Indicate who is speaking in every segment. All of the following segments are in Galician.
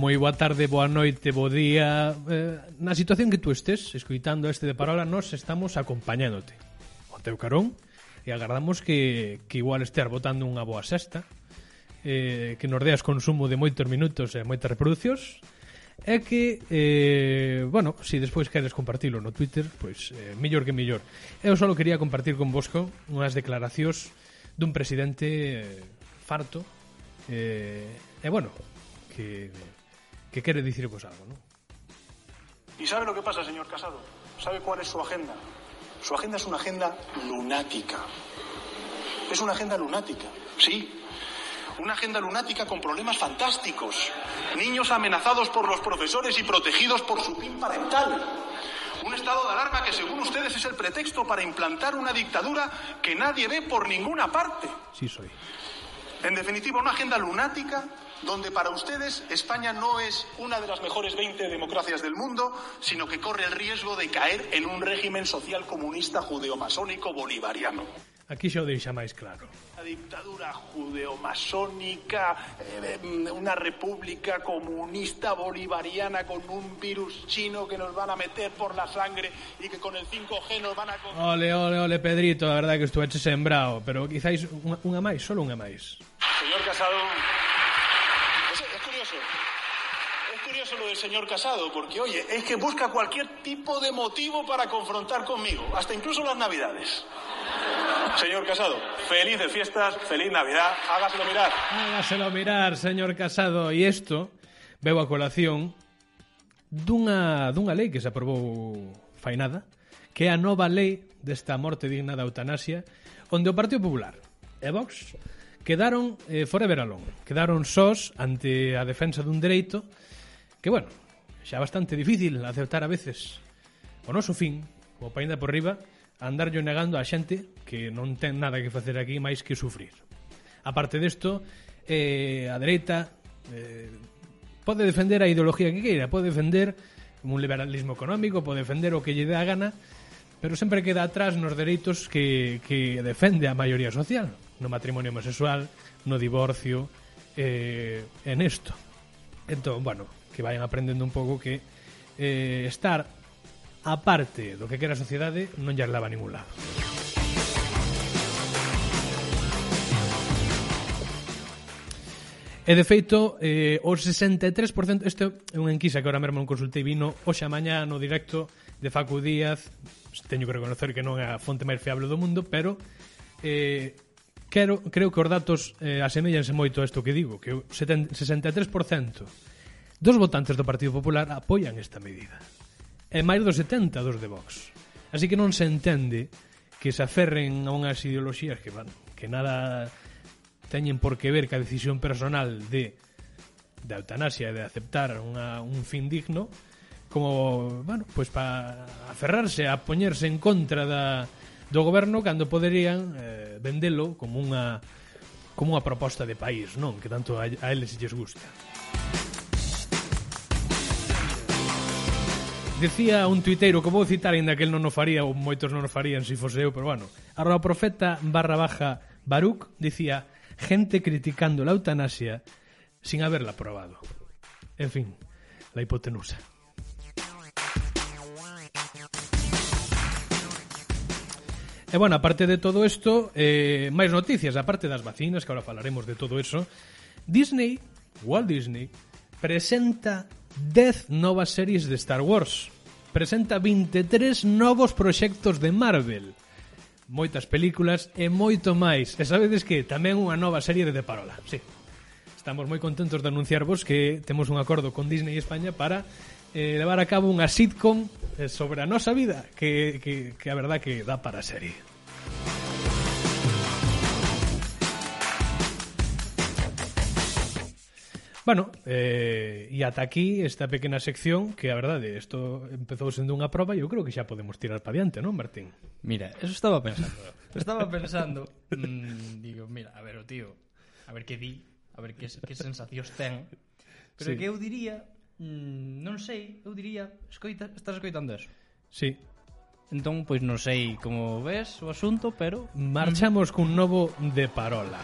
Speaker 1: moi boa tarde, boa noite, bo día eh, Na situación que tú estés escuitando este de parola Nos estamos acompañándote O teu carón E agardamos que, que igual estear botando unha boa sexta eh, Que nos deas consumo de moitos minutos e moitas reproducións é que, eh, bueno, si despois queres compartilo no Twitter, pois eh, mellor que mellor. Eu só quería compartir con vosco unhas declaracións dun presidente eh, farto eh, e, bueno, que, que quere dicirvos algo, non?
Speaker 2: ¿Y sabe lo que pasa, señor Casado? ¿Sabe cuál es su agenda? Su agenda es una agenda lunática. Es una agenda lunática, sí. Una agenda lunática con problemas fantásticos. Niños amenazados por los profesores y protegidos por su PIN parental. Un estado de alarma que según ustedes es el pretexto para implantar una dictadura que nadie ve por ninguna parte.
Speaker 1: Si soy.
Speaker 2: En definitiva, una agenda lunática donde para ustedes España no es una de las mejores 20 democracias del mundo, sino que corre el riesgo de caer en un régimen social comunista judeomasónico bolivariano.
Speaker 1: Aquí xa o deixa máis claro.
Speaker 2: Una dictadura judeomasónica, eh, eh, una república comunista bolivariana con un virus chino que nos van a meter por la sangre y que con el 5G nos van a... co-
Speaker 1: Ole, ole, ole, Pedrito, a verdade que estuveche sembrado, pero quizáis unha, unha máis, solo unha máis.
Speaker 2: Señor Casado. Es, es curioso. Es curioso lo del señor Casado, porque oye, es que busca cualquier tipo de motivo para confrontar conmigo, hasta incluso las Navidades. Señor Casado, felices fiestas, feliz Navidad, hágaselo mirar.
Speaker 1: Hágaselo mirar, señor Casado. E isto veu a colación dunha, dunha lei que se aprobou fai nada, que é a nova lei desta morte digna da eutanasia, onde o Partido Popular e Vox quedaron eh, forever alone, quedaron sós ante a defensa dun dereito que, bueno, xa é bastante difícil aceptar a veces o noso fin, o paínda por riba, andarlle negando a xente que non ten nada que facer aquí máis que sufrir. A parte desto, eh, a dereita eh, pode defender a ideoloxía que queira, pode defender un liberalismo económico, pode defender o que lle dé a gana, pero sempre queda atrás nos dereitos que, que defende a maioría social, no matrimonio homosexual, no divorcio, eh, en esto. Entón, bueno, que vayan aprendendo un pouco que eh, estar aparte do que quera a sociedade non lle leva a ningún lado. E de feito, eh, o 63%, isto é unha enquisa que ahora mesmo non consultei, vino hoxe a mañá no directo de Facu Díaz, teño que reconocer que non é a fonte máis fiable do mundo, pero eh, quero, creo que os datos eh, asemellanse moito a isto que digo, que o 70 63% dos votantes do Partido Popular apoian esta medida. E máis do 70 dos de Vox. Así que non se entende que se aferren a unhas ideoloxías que, van, que nada teñen por que ver ca decisión personal de da eutanasia e de aceptar unha, un fin digno como, bueno, pois para aferrarse a poñerse en contra da, do goberno cando poderían eh, vendelo como unha como unha proposta de país, non? Que tanto a, a eles lles gusta. Decía un tuiteiro que vou citar Ainda que el non o faría ou moitos non o farían Se fose eu, pero bueno Arroba profeta barra baja Baruch Dicía Gente criticando la eutanasia Sin haberla probado En fin, la hipotenusa E bueno, aparte de todo isto, eh, máis noticias, aparte das vacinas, que ahora falaremos de todo eso, Disney, Walt Disney, presenta 10 novas series de Star Wars. Presenta 23 novos proxectos de Marvel. Moitas películas e moito máis. E sabedes que tamén unha nova serie de De Parola. Sí. Estamos moi contentos de anunciarvos que temos un acordo con Disney España para eh, levar a cabo unha sitcom eh, sobre a nosa vida que, que, que a verdad que dá para serie. Bueno, eh, e ata aquí esta pequena sección que a verdade isto empezou sendo unha proba e eu creo que xa podemos tirar para diante, non, Martín?
Speaker 3: Mira, eso estaba pensando. Estaba pensando, mm, digo, mira, a ver o tío, a ver que di, a ver que, que sensacións ten.
Speaker 1: Sí.
Speaker 3: Pero sí. que eu diría, mm, non sei, eu diría, escoita, estás escoitando eso.
Speaker 1: Sí.
Speaker 3: Entón, pois non sei como ves o asunto, pero
Speaker 1: Marchamos cun novo de parola.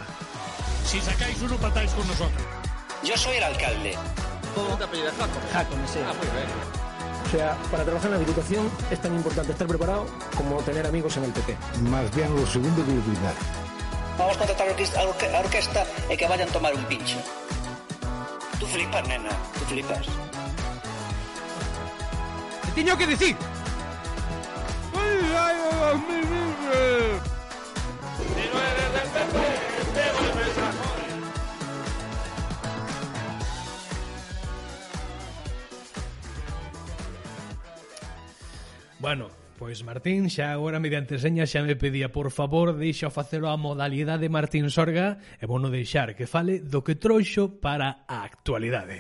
Speaker 4: Si sacáis uno, patáis con nosotros.
Speaker 5: Yo soy el alcalde.
Speaker 4: ¿Cómo te apellidas, Jaco?
Speaker 5: Jaco, me sé.
Speaker 4: Ah, muy bien.
Speaker 5: O sea, para trabajar en la Diputación es tan importante estar preparado como tener amigos en el PP.
Speaker 6: Más bien lo segundo que lo primero.
Speaker 7: Vamos a contratar orquesta, orque- a orquesta e que vayan tomar un pincho. Tú flipas, nena, tú flipas.
Speaker 4: ¿Qué tenía que decir?
Speaker 1: Bueno, pois Martín xa agora mediante señas xa me pedía por favor deixa facelo a modalidade Martín Sorga e bono deixar que fale do que trouxo para a actualidade.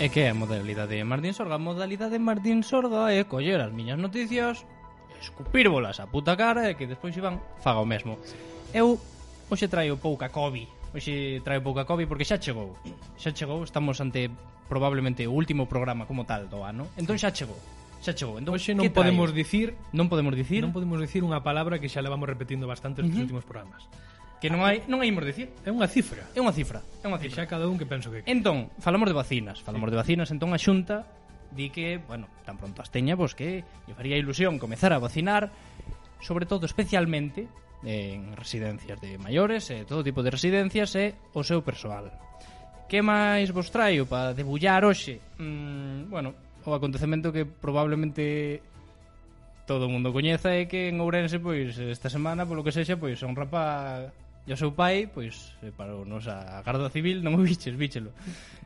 Speaker 3: E que é a modalidade de Martín Sorga? A modalidade de Martín Sorga é coller as miñas noticias, escupírbolas a puta cara e que despois Iván faga o mesmo. Eu hoxe traio pouca COVID. Hoxe traio pouca COVID porque xa chegou. Xa chegou, estamos ante probablemente o último programa como tal do ano. Entón xa chegou. Xa chegou. Entón,
Speaker 1: Hoxe
Speaker 3: que
Speaker 1: non
Speaker 3: traio?
Speaker 1: podemos dicir
Speaker 3: non podemos dicir
Speaker 1: non podemos dicir unha palabra que xa levamos repetindo bastante nos últimos programas.
Speaker 3: que non hai non hai imos dicir.
Speaker 1: É unha cifra.
Speaker 3: É unha cifra, é unha
Speaker 1: E xa
Speaker 3: cifra.
Speaker 1: cada un que penso que
Speaker 3: Entón, falamos de vacinas, falamos de vacinas, entón a Xunta di que, bueno, tan pronto as teña, pois que lle faría ilusión comezar a vacinar, sobre todo especialmente en residencias de maiores, e todo tipo de residencias e o seu persoal. Que máis vos traio para debullar hoxe? Mm, bueno, o acontecemento que probablemente todo o mundo coñeza é que en Ourense pois esta semana polo que sexa pois un rapaz e o seu pai pois eh, parou nos a Garda Civil non o biches, bichelo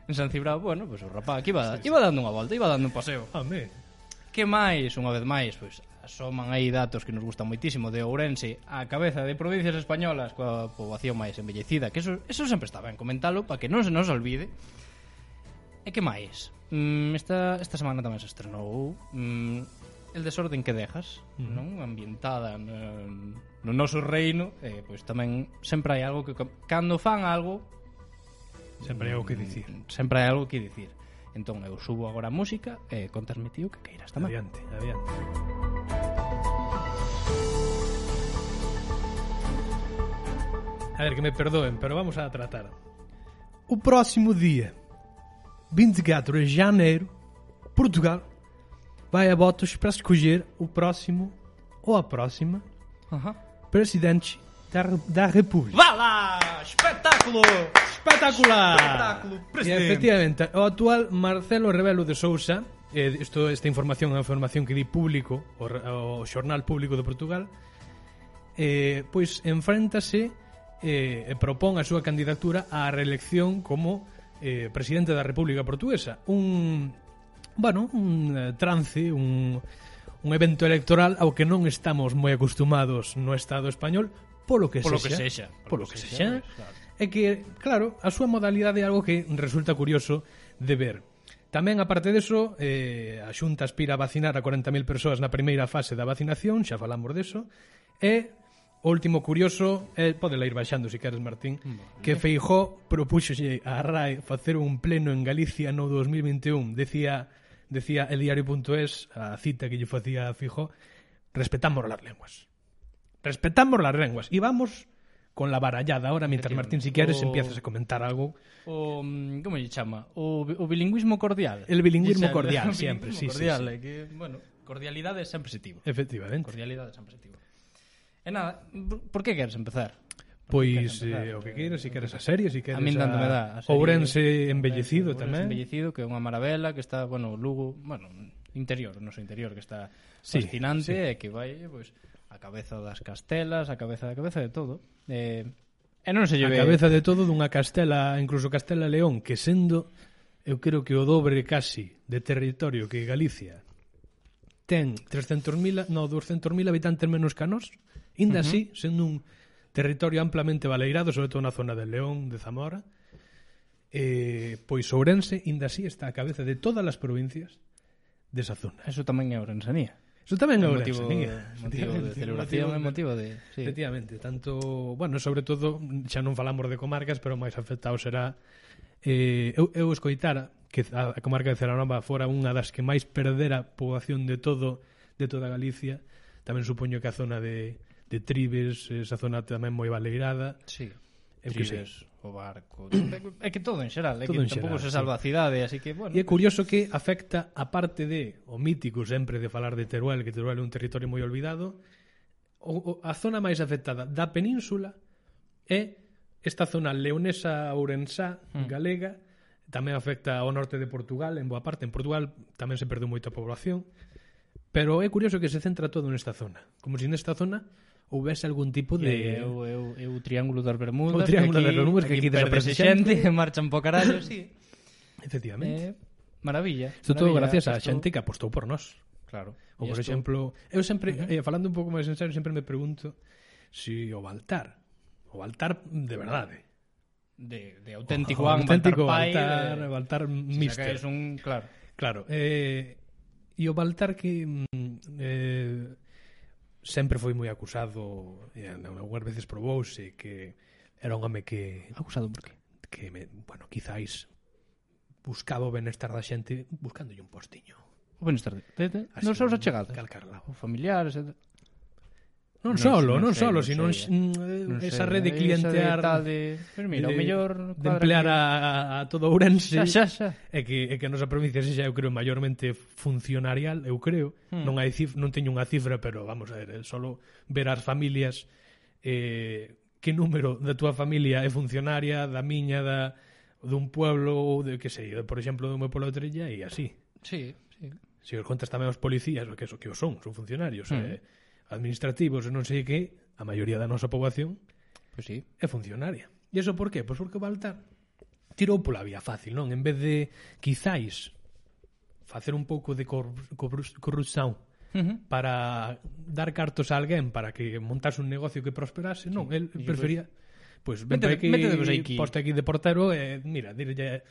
Speaker 3: en San Cibrao, bueno, pois o rapaz que iba, iba dando unha volta, iba dando un paseo
Speaker 1: Home,
Speaker 3: que máis, unha vez máis, pois asoman aí datos que nos gustan moitísimo de Ourense a cabeza de provincias españolas coa poboación máis embellecida, que eso, eso sempre está ben comentalo para que non se nos olvide. E que máis? Mm, esta, esta semana tamén se estrenou mm, El desorden que dejas, non? Ambientada no, no noso reino, eh, pois tamén sempre hai algo que ca- cando fan algo,
Speaker 1: sempre hai algo que dicir.
Speaker 3: sempre hai algo que dicir. Entón eu subo agora a música e eh, contasme tío que queiras tamén.
Speaker 1: Adiante, adiante. A ver, que me perdoen, pero vamos a tratar. O próximo dia, 24 de janeiro, Portugal vai a votos para escolher o próximo ou a próxima
Speaker 3: Ajá.
Speaker 1: presidente da, Re- da República.
Speaker 3: Vá lá! Espetáculo!
Speaker 1: Espectacular!
Speaker 3: Espectáculo,
Speaker 1: E
Speaker 3: presidente.
Speaker 1: efectivamente, o actual Marcelo Rebelo de Sousa, eh, isto, esta información é a información que di público, o, re- o xornal público de Portugal, eh, pois enfréntase eh, e propón a súa candidatura á reelección como eh, presidente da República Portuguesa. Un, bueno, un eh, trance, un, un evento electoral ao que non estamos moi acostumados no Estado español, polo que
Speaker 3: Polo que
Speaker 1: sexa.
Speaker 3: sexa.
Speaker 1: Polo que sexa. É que, claro, a súa modalidade é algo que resulta curioso de ver. Tamén, aparte deso, eh, a Xunta aspira a vacinar a 40.000 persoas na primeira fase da vacinación, xa falamos deso, e o último curioso, eh, pode ir baixando se queres, Martín, que Feijó propúxolle a RAE facer un pleno en Galicia no 2021. Decía, decía el diario.es, a cita que lle facía a Feijó, respetamos las lenguas. Respetamos las lenguas. Y vamos con la barallada ahora, mientras Martín, si quieres,
Speaker 3: O-
Speaker 1: empiezas a comentar algo.
Speaker 3: O, mm, como lle chama? O, bi- o bilingüismo cordial.
Speaker 1: El bilingüismo
Speaker 3: Lle chama-
Speaker 1: cordial,
Speaker 3: o
Speaker 1: sempre, sí, sí, sí.
Speaker 3: cordial, é que, bueno, cordialidade é sempre positivo.
Speaker 1: Efectivamente.
Speaker 3: Cordialidade é sempre positivo. E nada, por- por que queres empezar?
Speaker 1: Pois eh, o que queiras, si queres a serie, si queres
Speaker 3: a min tanto me dá. a serie-
Speaker 1: Ourense embellecido
Speaker 3: Ourense
Speaker 1: tamén.
Speaker 3: Embellecido, que é unha maravela, que está, bueno, o Lugo, bueno, interior, o noso interior, que está
Speaker 1: Sí, sí.
Speaker 3: fascinante, e que vai, pois, a cabeza das castelas, a cabeza da cabeza de todo. Eh, e non
Speaker 1: A
Speaker 3: se lleve...
Speaker 1: cabeza de todo dunha Castela, incluso Castela e León, que sendo eu creo que o dobre casi de territorio que Galicia ten 300.000, no, 200.000 habitantes menos que a nós, ainda uh -huh. así, sendo un territorio amplamente baleirado, sobre todo na zona de León, de Zamora, eh, pois Ourense, ainda así, está a cabeza de todas as provincias desa zona.
Speaker 3: Eso tamén é Ourensanía.
Speaker 1: Eso tamén é
Speaker 3: É
Speaker 1: Ourense,
Speaker 3: motivo,
Speaker 1: niña.
Speaker 3: motivo de
Speaker 1: Efectivamente,
Speaker 3: celebración, é motivo de... Sí.
Speaker 1: Efectivamente, tanto, bueno, sobre todo xa non falamos de comarcas, pero o máis afectado será eh, eu, eu escoitara que a, a comarca de Celanova fora unha das que máis perdera poboación de todo de toda Galicia tamén supoño que a zona de, de Tribes, esa zona tamén moi baleirada.
Speaker 3: Sí.
Speaker 1: Eu que sei.
Speaker 3: Tribes, o barco. é que todo en xeral, é que
Speaker 1: Todo en
Speaker 3: tampouco
Speaker 1: xeral,
Speaker 3: se
Speaker 1: sí.
Speaker 3: salva a cidade, así que, bueno.
Speaker 1: E é curioso que afecta a parte de o mítico sempre de falar de Teruel, que Teruel é un territorio moi olvidado, o, o, a zona máis afectada da península é esta zona leonesa ourensá
Speaker 3: Hmm.
Speaker 1: galega, tamén afecta ao norte de Portugal, en boa parte en Portugal tamén se perdeu moita población, pero é curioso que se centra todo nesta zona, como se nesta zona houvese algún tipo
Speaker 3: De...
Speaker 1: de
Speaker 3: Eu, eu, eu o Triángulo das Bermudas
Speaker 1: O Triángulo
Speaker 3: que
Speaker 1: das
Speaker 3: aquí,
Speaker 1: Bermudas, que aquí
Speaker 3: perdese
Speaker 1: desaparece
Speaker 3: xente Marchan po carallo, sí
Speaker 1: efectivamente.
Speaker 3: eh, Maravilla
Speaker 1: Isto todo
Speaker 3: maravilla.
Speaker 1: gracias a
Speaker 3: Isto-
Speaker 1: xente que apostou por nós.
Speaker 3: Claro
Speaker 1: Ou,
Speaker 3: E
Speaker 1: por
Speaker 3: isto-
Speaker 1: exemplo, eu sempre, eh, falando un pouco máis en serio, sempre me pregunto se si o Baltar, o Baltar de verdade,
Speaker 3: De, de
Speaker 1: o
Speaker 3: auténtico Juan,
Speaker 1: auténtico
Speaker 3: Baltar Pai,
Speaker 1: Baltar, Baltar
Speaker 3: de- si
Speaker 1: Mister.
Speaker 3: sacáis un, claro,
Speaker 1: Claro, eh, e o Baltar que mm, eh, sempre foi moi acusado, e algunhas veces probouse que era un home que
Speaker 3: Acusado por qué?
Speaker 1: que me, bueno, quizáis buscaba o benestar da xente buscándolle un postiño.
Speaker 3: O benestar de, de, de
Speaker 1: Así,
Speaker 3: nos seus achegados.
Speaker 1: calcarla.
Speaker 3: O familiares, etc.
Speaker 1: Non
Speaker 3: Non
Speaker 1: solo,
Speaker 3: sei,
Speaker 1: non
Speaker 3: non sei,
Speaker 1: solo,
Speaker 3: non
Speaker 1: sino
Speaker 3: sei,
Speaker 1: mm, eh, esa rede
Speaker 3: Esa de, tal
Speaker 1: clientear
Speaker 3: de, pues mira,
Speaker 1: de-
Speaker 3: o mellor
Speaker 1: de emplear a, a- a todo Ourense
Speaker 3: Xa, xa, xa.
Speaker 1: é que é que a nosa provincia sexa eu creo maiormente funcionarial, eu creo. Hmm. Non hai cif, non teño unha cifra, pero vamos a ver, é solo ver as familias eh que número da túa familia é funcionaria, da miña, da dun pueblo ou de que sei, por exemplo, do meu pueblo de Trella e así.
Speaker 3: Sí, sí.
Speaker 1: Se os contas tamén aos policías, que eso que os son, son funcionarios, eh, administrativos, e non sei que, a maioría da nosa poboación
Speaker 3: Pues sí.
Speaker 1: é funcionaria. E iso por qué? Pois porque o Baltar tirou pola vía fácil, non? En vez de, quizáis, facer un pouco de cor- corru- corrupción
Speaker 3: Uh -huh.
Speaker 1: para dar cartos a alguén para que montase un negocio que prosperase, non, el
Speaker 3: E
Speaker 1: prefería pois pues, ven para
Speaker 3: Métede-
Speaker 1: aquí,
Speaker 3: métedevos aquí.
Speaker 1: poste aquí de portero e eh, mira, dirlle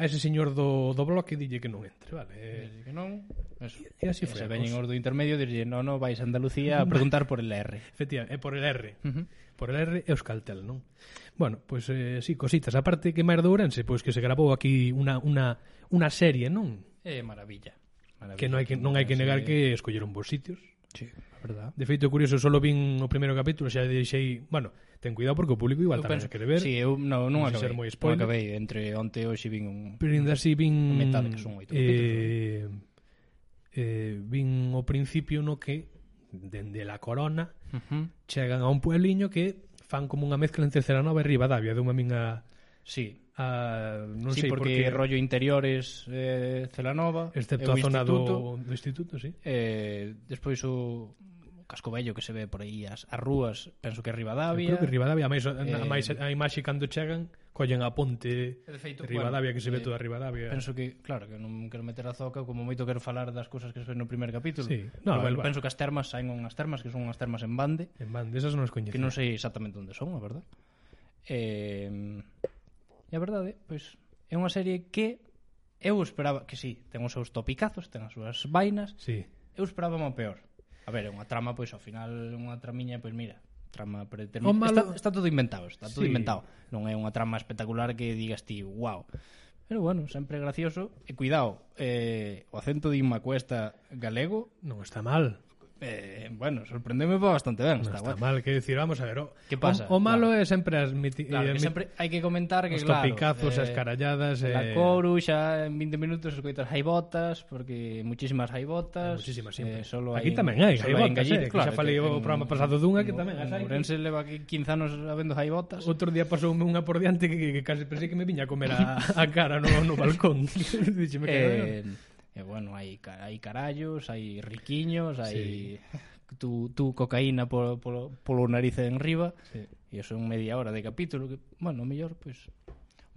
Speaker 1: a ese señor do, do bloque dille que non entre, vale? Eh,
Speaker 3: Que non, eso.
Speaker 1: E así foi a
Speaker 3: Se veñen
Speaker 1: cousa.
Speaker 3: os do intermedio e dirlle, no, no, vais a Andalucía a preguntar por el R.
Speaker 1: Efectivamente, é por el R.
Speaker 3: Ujú.
Speaker 1: Por el R e Euskaltel, non? Bueno, pois pues, eh, sí, cositas. Aparte que Maer de Ourense, pois que se grabou aquí unha, unha, unha serie, non?
Speaker 3: Eh, maravilla. maravilla.
Speaker 1: Que non hai que, non hai que negar que escolleron bons sitios.
Speaker 3: Sí, a verdad.
Speaker 1: De feito, é curioso, solo vin o primeiro capítulo, xa deixei... Bueno, ten cuidado porque o público igual
Speaker 3: Eu
Speaker 1: tamén
Speaker 3: penso-
Speaker 1: se quere ver.
Speaker 3: Sí, eu no,
Speaker 1: Non
Speaker 3: non
Speaker 1: sei
Speaker 3: acabei.
Speaker 1: ser moi
Speaker 3: non
Speaker 1: spoiler.
Speaker 3: acabei. Entre onte e hoxe vin un...
Speaker 1: Pero ainda así vin...
Speaker 3: A metade, que son oito
Speaker 1: eh, eh, vin o principio no que, dende la corona,
Speaker 3: Uh -huh.
Speaker 1: chegan a un puebliño que fan como unha mezcla entre Ceranova e Rivadavia, de unha minha
Speaker 3: Sí,
Speaker 1: a non sei
Speaker 3: sí,
Speaker 1: porque
Speaker 3: porque, rollo interiores eh, Celanova
Speaker 1: excepto a
Speaker 3: e o
Speaker 1: zona
Speaker 3: instituto,
Speaker 1: do, do instituto, sí.
Speaker 3: eh, despois o, o casco vello que se ve por aí as, as rúas penso que é
Speaker 1: Había... Creo
Speaker 3: Rivadavia
Speaker 1: que Rivadavia, a máis, a
Speaker 3: Eh,
Speaker 1: máis a imaxe cando chegan, collen a ponte
Speaker 3: E de feito,
Speaker 1: de Rivadavia
Speaker 3: bueno,
Speaker 1: que se ve
Speaker 3: eh,
Speaker 1: toda Rivadavia.
Speaker 3: penso que claro que non quero meter a zoca como moito quero falar das cousas que se ven no primer capítulo
Speaker 1: Sí. No,
Speaker 3: no, pero, bueno,
Speaker 1: igual.
Speaker 3: penso que as termas saen unhas termas que son unhas termas en bande
Speaker 1: En van, desas non as
Speaker 3: que
Speaker 1: coñecen.
Speaker 3: non sei exactamente onde son, a verdad. Eh, e a verdade, pois, é unha serie que eu esperaba que sí, ten os seus topicazos, ten as súas vainas,
Speaker 1: Sí.
Speaker 3: eu esperaba o peor. A ver, é unha trama, pois, ao final, unha tramiña, pois, mira, trama
Speaker 1: O malo-
Speaker 3: predeterminada. Está, está todo inventado, está todo
Speaker 1: Sí.
Speaker 3: inventado. Non é unha trama espectacular que digas ti, wow. Pero bueno, sempre gracioso. E cuidado, eh, o acento de Inma Cuesta galego,
Speaker 1: Non está mal.
Speaker 3: eh, bueno, sorprendeme bastante ben.
Speaker 1: Non
Speaker 3: Está,
Speaker 1: está, mal,
Speaker 3: guai.
Speaker 1: que decir, vamos a ver. O,
Speaker 3: Que pasa?
Speaker 1: O, o malo é
Speaker 3: Claro.
Speaker 1: sempre as miti, eh,
Speaker 3: Claro, que
Speaker 1: mit-
Speaker 3: sempre hai que comentar
Speaker 1: os
Speaker 3: que claro,
Speaker 1: topicazos, as caralladas, eh,
Speaker 3: La Coru xa en 20 minutos escoitas jaibotas, porque muchísimas
Speaker 1: Eh,
Speaker 3: jaibotas.
Speaker 1: muchísimas sempre.
Speaker 3: Eh, solo
Speaker 1: Aquí
Speaker 3: hai en-
Speaker 1: tamén hai
Speaker 3: solo
Speaker 1: jaibotas,
Speaker 3: en Gallito,
Speaker 1: eh, que xa falei o
Speaker 3: en-
Speaker 1: programa pasado dunha que
Speaker 3: en-
Speaker 1: tamén as hai.
Speaker 3: En Ourense leva aquí 15 anos habendo jaibotas.
Speaker 1: Outro día pasoume unha por diante que, que, que case pensei que me viña a comer a, a cara no, no balcón. Dixeme que
Speaker 3: Eh, eh, bueno, hai, ca- hai carallos, hai riquiños, hai tu, tu cocaína polo, polo, polo nariz en riba.
Speaker 1: Sí.
Speaker 3: E iso é un media hora de capítulo que, bueno, o mellor, pois...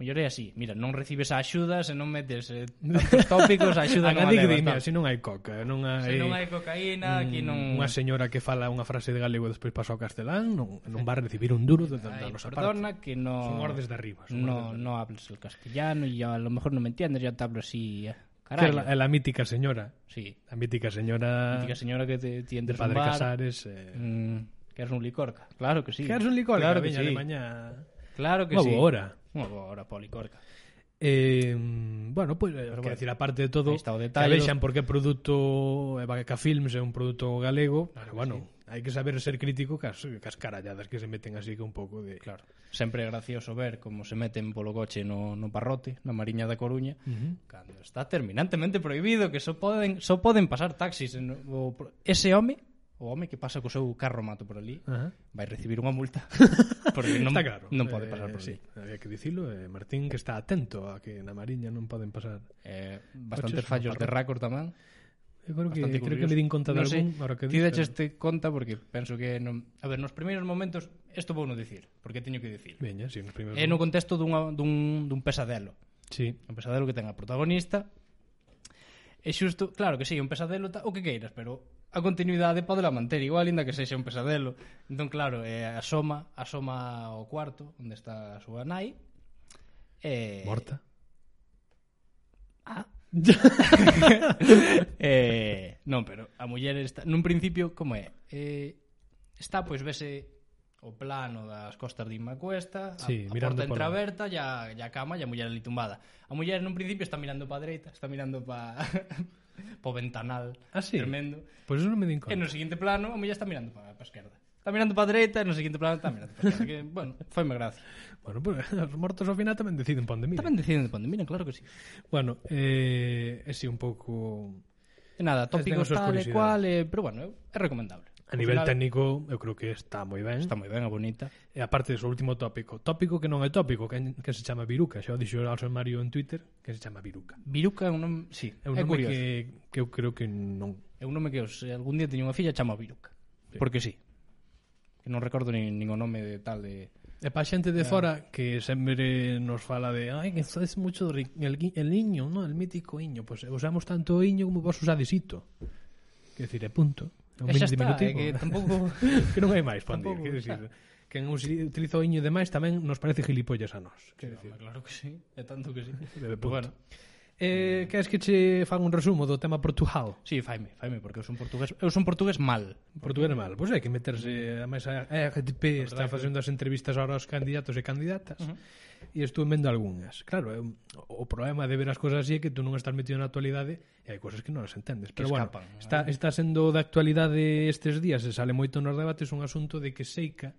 Speaker 3: O mellor é así. Mira, non recibes a axuda se non metes eh, tantos tópicos, a axuda non a
Speaker 1: Agadí que
Speaker 3: levas.
Speaker 1: dime,
Speaker 3: tal.
Speaker 1: se non hai coca, non hai...
Speaker 3: Se non hai cocaína, aquí
Speaker 1: Mm,
Speaker 3: non...
Speaker 1: Unha señora que fala unha frase de galego e despois pasa ao castelán non, non va a recibir un duro de tanta
Speaker 3: Ay,
Speaker 1: nosa parte.
Speaker 3: perdona que no...
Speaker 1: Son ordes de arriba. Son
Speaker 3: No,
Speaker 1: ordes de...
Speaker 3: no hables el castellano y a lo mejor no me entiendes, yo te hablo así... eh,
Speaker 1: Que é
Speaker 3: Carallo.
Speaker 1: la, é la mítica señora.
Speaker 3: Sí.
Speaker 1: A mítica señora...
Speaker 3: Mítica señora que te
Speaker 1: de
Speaker 3: tiendes un
Speaker 1: Padre
Speaker 3: bar...
Speaker 1: Casares. Eh...
Speaker 3: Mm, que eres un licorca. Claro que sí.
Speaker 1: Que eres un licor,
Speaker 3: claro que
Speaker 1: viña de
Speaker 3: sí.
Speaker 1: mañá.
Speaker 3: Claro que
Speaker 1: Unha
Speaker 3: sí.
Speaker 1: boa hora.
Speaker 3: Unha boa hora, policorca.
Speaker 1: Eh, bueno, pois pues, bueno, decir, aparte de todo,
Speaker 3: aí está o
Speaker 1: que
Speaker 3: detalle.
Speaker 1: vexan porque é produto é Vaca Films é un produto galego, claro, bueno, hai que saber ser crítico cas, cas caralladas que se meten así que un pouco de Claro.
Speaker 3: Sempre é gracioso ver como se meten polo coche no, no parrote, na Mariña da Coruña,
Speaker 1: Uh -huh.
Speaker 3: cando está terminantemente prohibido que só poden só poden pasar taxis en, o, ese home o home que pasa co seu carro mato por ali
Speaker 1: Ajá.
Speaker 3: vai recibir unha multa porque non,
Speaker 1: Ah. está claro.
Speaker 3: non pode pasar
Speaker 1: eh,
Speaker 3: por
Speaker 1: sí.
Speaker 3: ali
Speaker 1: Había que dicilo, eh, Martín que está atento a que na Mariña non poden pasar.
Speaker 3: eh, bastantes
Speaker 1: Coches,
Speaker 3: fallos
Speaker 1: no
Speaker 3: de récord tamén
Speaker 1: Eu creo que
Speaker 3: bastante
Speaker 1: creo que
Speaker 3: curioso.
Speaker 1: me din conta de
Speaker 3: non
Speaker 1: algún, ahora que
Speaker 3: ti
Speaker 1: dis,
Speaker 3: decheste conta porque penso que non... a ver, nos primeiros momentos isto vou non dicir porque teño que dicir
Speaker 1: pero- Veña, si, nos primeiros.
Speaker 3: é eh, no contexto dunha, dun, dun pesadelo
Speaker 1: Sí.
Speaker 3: un pesadelo que ten a protagonista e xusto, claro que sí, un pesadelo ta, o que queiras, pero a continuidade podela manter igual, inda que sexa un pesadelo entón claro, eh, asoma asoma ao cuarto onde está a súa nai eh,
Speaker 1: Morta.
Speaker 3: eh, non, pero a muller está, nun principio, como é? Eh, está, pois, vese o plano das costas de Inmacuesta,
Speaker 1: Sí,
Speaker 3: a, a
Speaker 1: mirando pola-
Speaker 3: porta entreaberta, e a, e a cama, e a muller ali tumbada. A muller nun principio está mirando pa dereita, está mirando pa po ventanal
Speaker 1: Ah, sí?
Speaker 3: tremendo.
Speaker 1: Pois pues eso non me din
Speaker 3: E eh, no
Speaker 1: conta.
Speaker 3: seguinte plano, a muller está mirando pa, pa esquerda. Está mirando pa dereita, e no seguinte plano está mirando pa esquerda. Que, bueno, foi me gracia.
Speaker 1: Bueno, pues, os mortos ao final tamén deciden pa onde mira.
Speaker 3: Tamén deciden de ponde, miren, claro que sí.
Speaker 1: Bueno, eh, é si un pouco
Speaker 3: E nada,
Speaker 1: Estas teñen as
Speaker 3: tópicos
Speaker 1: súas
Speaker 3: tal e
Speaker 1: curiosidades.
Speaker 3: cual, eh, pero bueno, é recomendable.
Speaker 1: a nivel
Speaker 3: Ao final,
Speaker 1: técnico, eu creo que está moi ben.
Speaker 3: Está moi ben, é bonita.
Speaker 1: E aparte do último tópico, tópico que non é tópico, que, que se chama Viruca, xa o dixo Alson Mario en Twitter, que se chama Viruca.
Speaker 3: Viruca é un nome, sí,
Speaker 1: É un
Speaker 3: é
Speaker 1: nome
Speaker 3: curioso.
Speaker 1: que,
Speaker 3: Que...
Speaker 1: que eu creo que non
Speaker 3: É un nome que os, eh, algún día teño unha filla chama Viruca. Sí. Porque sí. Que non recordo nin, nin o nome de tal de
Speaker 1: E pa xente de fora que sempre nos fala de ai, que sois moito do ri- el, gui- el iño, no? el mítico iño. Pois pues usamos tanto o iño como vos usades ito. Que decir, é punto. É un
Speaker 3: E xa
Speaker 1: mini
Speaker 3: está,
Speaker 1: diminutivo.
Speaker 3: é que tampouco-
Speaker 1: que non hai máis, pandir.
Speaker 3: Tampouco,
Speaker 1: Que decir, que non usi- utiliza o iño de máis tamén nos parece gilipollas a nós. Que decir,
Speaker 3: claro que sí, é tanto que sí.
Speaker 1: de punto.
Speaker 3: Pero bueno,
Speaker 1: Bueno. Eh, queres que che fan un resumo do tema Portugal?
Speaker 3: sí, faime, faime porque eu son portugués, eu son portugués mal.
Speaker 1: Portugal é mal. Pois hai que meterse a máis a a RTP está facendo as entrevistas ahora aos candidatos e candidatas uh -huh. e estuve vendo algunhas. Claro, é un- o o problema de ver as cousas así é que tú non estás metido na actualidade e hai cousas que non as entendes. Pero bueno,
Speaker 3: escapan, non é?
Speaker 1: está, está sendo da actualidade estes días e sale moito nos debates un asunto de que Seika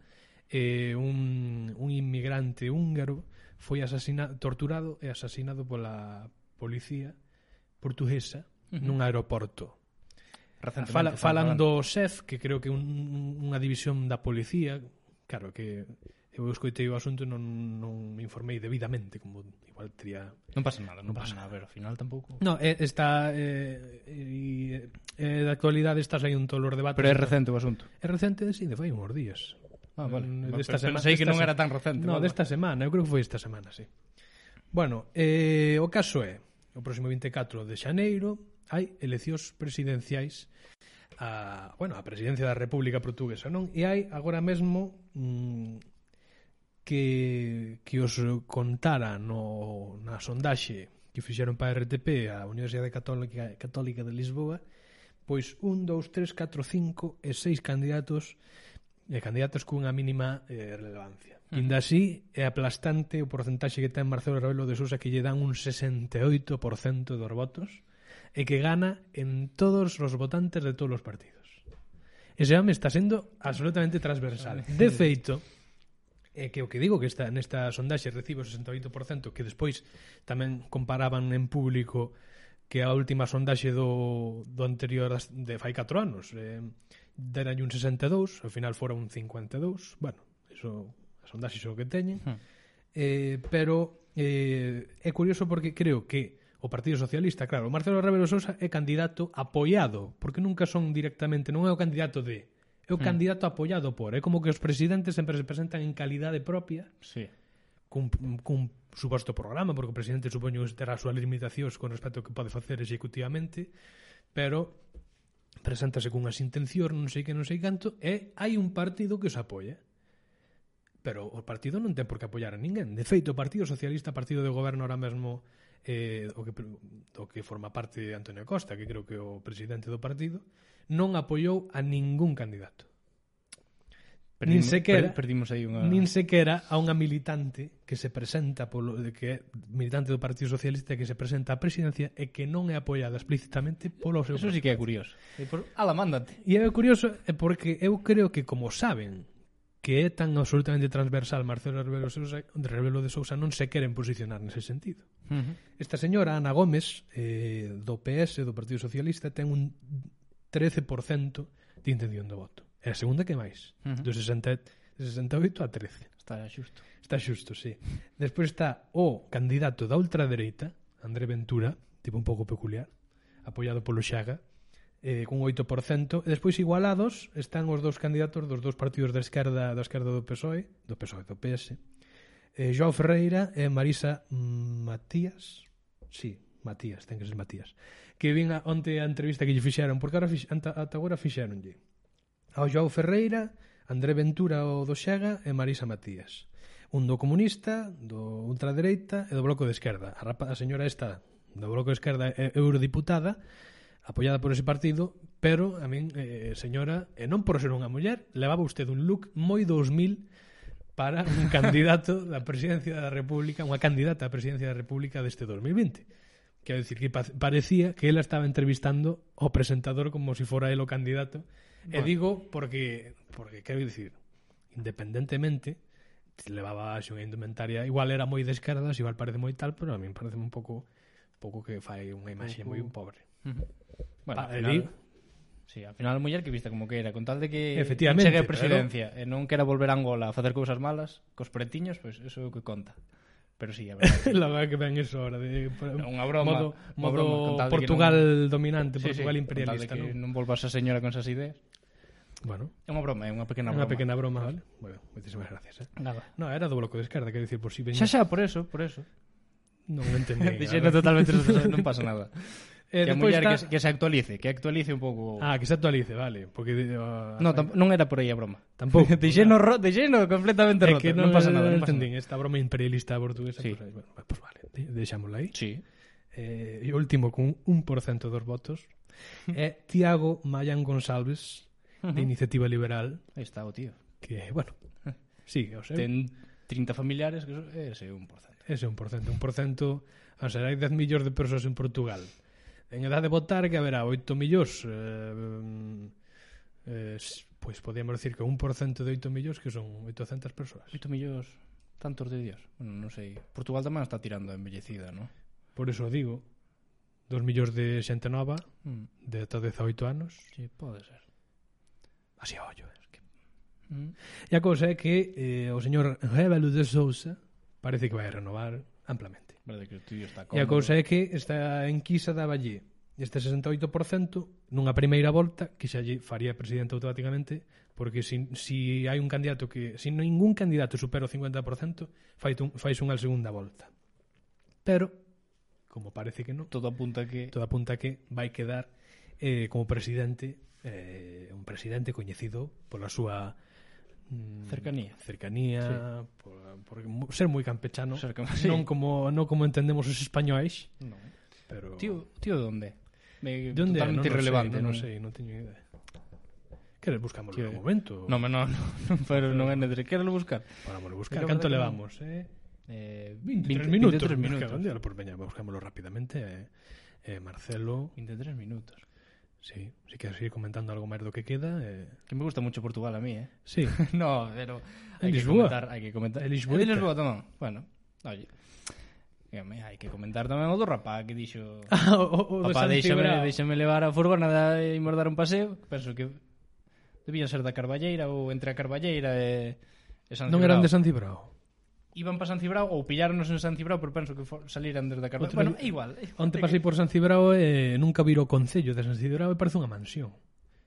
Speaker 1: eh, un, un inmigrante húngaro foi asasina, torturado e asasinado pola policía portuguesa uh -huh. nun aeroporto.
Speaker 3: Recentemente
Speaker 1: Fala,
Speaker 3: estaba
Speaker 1: falan do
Speaker 3: falando.
Speaker 1: SEF, que creo que é un, un- unha división da policía, claro que eu escoitei o asunto e non, non me informei debidamente, como igual teria...
Speaker 3: Non pasa nada, non, pasa nada, pero ao final tampouco.
Speaker 1: No, é, está... Eh, e, eh, da actualidade está saindo un tolor debate.
Speaker 3: Pero é recente o asunto.
Speaker 1: É recente, sí, de fai uns días.
Speaker 3: Ah, vale.
Speaker 1: Mm,
Speaker 3: Pero
Speaker 1: desta sema-
Speaker 3: Pensei que
Speaker 1: desta
Speaker 3: non
Speaker 1: se-
Speaker 3: era tan recente.
Speaker 1: No,
Speaker 3: vale.
Speaker 1: desta semana, eu creo que foi esta semana, sí. Bueno, eh, o caso é, o próximo 24 de xaneiro hai eleccións presidenciais a, bueno, a presidencia da República Portuguesa, non? E hai agora mesmo mm, que, que os contara no, na sondaxe que fixeron para a RTP a Universidade Católica, Católica de Lisboa pois un, dous, tres, catro, cinco e seis candidatos e candidatos cunha mínima eh, relevancia. Inda así, é aplastante o porcentaxe que ten Marcelo Rebelo de Sousa que lle dan un 68% dos votos e que gana en todos os votantes de todos os partidos. Ese home está sendo absolutamente transversal. De feito, é que o que digo que está nesta sondaxe recibe o 68% que despois tamén comparaban en público que a última sondaxe do, do anterior as- de fai 4 anos eh, deran un 62 ao final fora un 52 bueno, iso, a sondaxe iso que teñen
Speaker 3: Hmm.
Speaker 1: eh, pero eh, é curioso porque creo que o Partido Socialista, claro, o Marcelo Rebelo Sousa é candidato apoiado, porque nunca son directamente, non é o candidato de, é o candidato apoiado por, é como que os presidentes sempre se presentan en calidade propia
Speaker 3: Sí.
Speaker 1: cun, cun suposto programa, porque o presidente supoño que terá as súas limitacións con respecto ao que pode facer executivamente, pero preséntase cunhas intencións, non sei que, non sei canto, e hai un partido que os apoia. Pero o partido non ten por que apoiar a ninguén. De feito, o Partido Socialista, partido de goberno ahora mesmo eh, o, que, o que forma parte de Antonio Costa, que creo que é o presidente do partido, non apoiou a ningún candidato. Nin
Speaker 3: Perdimos,
Speaker 1: sequera-
Speaker 3: per- perdimos aí unha...
Speaker 1: nin sequera a unha militante que se presenta polo de que é militante do Partido Socialista que se presenta á presidencia e que non é apoiada explícitamente polo seu
Speaker 3: Eso sí que é curioso. E por... Ala, mándate.
Speaker 1: E é curioso é porque eu creo que como saben que é tan absolutamente transversal Marcelo Rebelo, de Sousa, Rebelo de Sousa non se queren posicionar nese sentido. Esta señora, Ana Gómez, eh, do PS, do Partido Socialista, ten un 13% de intención de voto. É a segunda que máis.
Speaker 3: Ujú.
Speaker 1: Do 60, de 68 a 13.
Speaker 3: Está xusto.
Speaker 1: Está xusto, sí. Despois está o candidato da ultradereita, André Ventura, tipo un pouco peculiar, apoiado polo Xaga, eh, cun 8%. E despois igualados están os dous candidatos dos dous partidos da esquerda, da esquerda do PSOE, do PSOE, do PS, eh, Joao Ferreira e Marisa Matías. Sí, Matías, ten que ser Matías. Que vin a, onte a entrevista que lle fixeron, porque ahora fix, anta, ata agora fixeronlle. Ao Joao Ferreira, André Ventura o do Xaga e Marisa Matías. Un do comunista, do ultradereita e do bloco de esquerda. A, rapa, a señora esta do bloco de esquerda é eurodiputada, apoiada por ese partido, pero a min, eh, señora, e non por ser unha muller, levaba usted un look moi 2000 para un candidato da presidencia da República, unha candidata á presidencia da República deste 2020. Quero dicir que pa- parecía que ela estaba entrevistando ao presentador como se si fora el o candidato. Bueno. E digo porque porque quero dicir, independentemente levaba a unha indumentaria, igual era moi de esquerdas, igual parece moi tal, pero a min parece un pouco pouco que fai unha imaxe moi pobre.
Speaker 3: Bueno,
Speaker 1: Pa-
Speaker 3: al final, sí, al final a muller que viste como que era, con tal de que
Speaker 1: Efectivamente,
Speaker 3: chegue a
Speaker 1: pero-
Speaker 3: presidencia e non quera volver a Angola a facer cousas malas, cos pretiños, pois pues, eso é o que conta. Pero sí, a verdade.
Speaker 1: La verdad que ven eso ahora de
Speaker 3: Unha broma,
Speaker 1: modo, modo
Speaker 3: unha broma, con tal de que
Speaker 1: Portugal dominante,
Speaker 3: Sí, sí,
Speaker 1: Portugal
Speaker 3: con tal de
Speaker 1: imperialista,
Speaker 3: que
Speaker 1: non?
Speaker 3: non volvas a señora con esas ideas.
Speaker 1: Bueno,
Speaker 3: É unha broma, é unha pequena
Speaker 1: unha
Speaker 3: broma.
Speaker 1: pequena broma, vale? Bueno, moitísimas gracias, eh.
Speaker 3: Nada.
Speaker 1: No, era do bloco de esquerda, quero dicir, por si veña...
Speaker 3: Xa, xa, por eso, por eso.
Speaker 1: Non entendía.
Speaker 3: Dixendo totalmente responsable, non pasa nada.
Speaker 1: Eh,
Speaker 3: que a
Speaker 1: despois
Speaker 3: muller
Speaker 1: está...
Speaker 3: que, se- que se actualice, que actualice un pouco.
Speaker 1: Ah, que se actualice, vale. Porque... Uh,
Speaker 3: no, tam- non era por aí a broma.
Speaker 1: Tampouco.
Speaker 3: Deixeno, ro deixeno completamente
Speaker 1: É
Speaker 3: roto.
Speaker 1: que
Speaker 3: non, pasa nada, non pasa
Speaker 1: entendín
Speaker 3: nada.
Speaker 1: esta broma imperialista portuguesa.
Speaker 3: Sí.
Speaker 1: Pues, ahí, bueno, pues vale, de- deixámosla aí.
Speaker 3: Sí.
Speaker 1: Eh, e último, cun 1% dos votos, eh, é Tiago Mayán González, de Iniciativa Liberal,
Speaker 3: Aí está o tío.
Speaker 1: que, bueno, sigue, o sea,
Speaker 3: Ten 30 familiares, que eso é ese 1%.
Speaker 1: ese 1%. 1%, o sea, hai 10 millóns de persoas en Portugal. En edad de votar que haberá 8 millóns eh, eh, s- pois podíamos decir que 1% de 8 millóns que son 800 persoas.
Speaker 3: 8 millóns tantos de Dios. Bueno, non sei. Portugal tamén está tirando a envellecida, non?
Speaker 1: Por eso digo, 2 millóns de xente nova
Speaker 3: Mm,
Speaker 1: de ata 18 anos.
Speaker 3: sí, pode ser.
Speaker 1: Así a ollo. Es que...
Speaker 3: Mm.
Speaker 1: E a cousa é que eh, o señor Rebelo de Sousa parece que vai renovar amplamente.
Speaker 3: Verdade que o tío está
Speaker 1: E a cousa é que esta enquisa daba allí este 68% nunha primeira volta que xa lle faría presidente automáticamente porque si, si hai un candidato que si ningún candidato supera o 50% fai un, fais unha segunda volta pero como parece que non
Speaker 3: todo apunta que
Speaker 1: todo apunta que vai quedar eh, como presidente eh, un presidente coñecido pola súa mm,
Speaker 3: Cercanía.
Speaker 1: cercanía sí. por, por mu- ser moi campechano
Speaker 3: Ser cam- sí.
Speaker 1: non como non como entendemos os españois
Speaker 3: non.
Speaker 1: pero
Speaker 3: Tío, tío de onde? Me,
Speaker 1: de onde é?
Speaker 3: totalmente
Speaker 1: non,
Speaker 3: irrelevante,
Speaker 1: non, sei, non, non teño idea Queres buscámoslo
Speaker 3: Tío,
Speaker 1: en un momento?
Speaker 3: No, no, no, no, pero non é necesario. Quero buscar.
Speaker 1: Parámoslo buscar.
Speaker 3: Pero
Speaker 1: Canto
Speaker 3: que-
Speaker 1: levamos, eh?
Speaker 3: Eh,
Speaker 1: 23 minutos. Busca-
Speaker 3: 23 minutos.
Speaker 1: onde? Pois veña, buscámoslo rapidamente. Eh, eh, Marcelo,
Speaker 3: 23 minutos.
Speaker 1: sí, si queres ir comentando algo máis do que queda, eh,
Speaker 3: Que me gusta mucho Portugal a mí, eh.
Speaker 1: sí.
Speaker 3: no, pero
Speaker 1: El
Speaker 3: hay que
Speaker 1: Lisboa.
Speaker 3: comentar, hay que comentar.
Speaker 1: El Lisboeta.
Speaker 3: El de Lisboa tamén. Bueno, oye. Dígame, hai que comentar tamén o do rapaz que dixo
Speaker 1: o, o, o
Speaker 3: Papá,
Speaker 1: de Santi
Speaker 3: deixame,
Speaker 1: Brao.
Speaker 3: deixame levar a furgona da- e imos dar un paseo Penso que debían ser da Carballeira ou entre a Carballeira e, e San
Speaker 1: Non eran de Santi Brao.
Speaker 3: Iban para San Cibrao ou pilláronos en San Cibrao Pero penso que for, saliran desde a Carballeira
Speaker 1: Outro
Speaker 3: Bueno,
Speaker 1: día-
Speaker 3: é igual
Speaker 1: Onte pasei por San Cibrao e nunca viro o Concello de San Cibrao e parece unha mansión.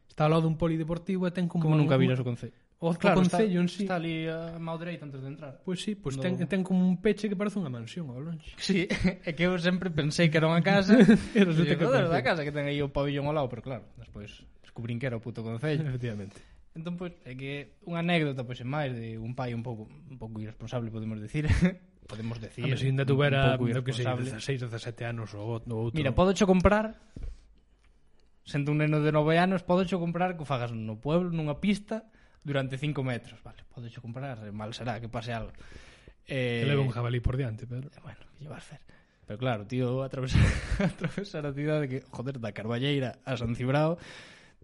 Speaker 1: Está ao lado dun polideportivo e ten como...
Speaker 3: Como nunca viras o
Speaker 1: Concello.
Speaker 3: Concello
Speaker 1: O, o Concello
Speaker 3: está,
Speaker 1: en sí.
Speaker 3: está ali a mao dereita antes de entrar
Speaker 1: Pois sí, pois
Speaker 3: No.
Speaker 1: ten, ten como un peche que parece unha mansión ao longe.
Speaker 3: Sí, é que eu sempre pensei que era unha casa
Speaker 1: E resulta
Speaker 3: E
Speaker 1: que é
Speaker 3: digo, "Joder,
Speaker 1: concello".
Speaker 3: da casa que ten aí o pabellón ao lado Pero claro, despois descubrín que era o puto Concello
Speaker 1: Efectivamente.
Speaker 3: Entón, pois, é que unha anécdota, pois, é máis de un pai un pouco un pouco irresponsable, podemos decir. podemos
Speaker 1: Sí, a
Speaker 3: decir.
Speaker 1: ver, se Ah, ainda
Speaker 3: un-
Speaker 1: tuvera,
Speaker 3: un
Speaker 1: no
Speaker 3: pouco
Speaker 1: que sei, 16 ou
Speaker 3: irresponsable.
Speaker 1: 17 anos ou outro. outro.
Speaker 3: Mira, podo cho comprar sendo un neno de nove anos, podo cho comprar que o fagas no pueblo, nunha pista, durante 5 metros. Vale, podes comprar, eh, mal será que pase algo. Eh,
Speaker 1: Que leva un jabalí por diante, Pedro.
Speaker 3: Bueno, que llevas fer. Pero claro, tío, atravesar, atravesar a cidade que, joder, da Carballeira a San Cibrao,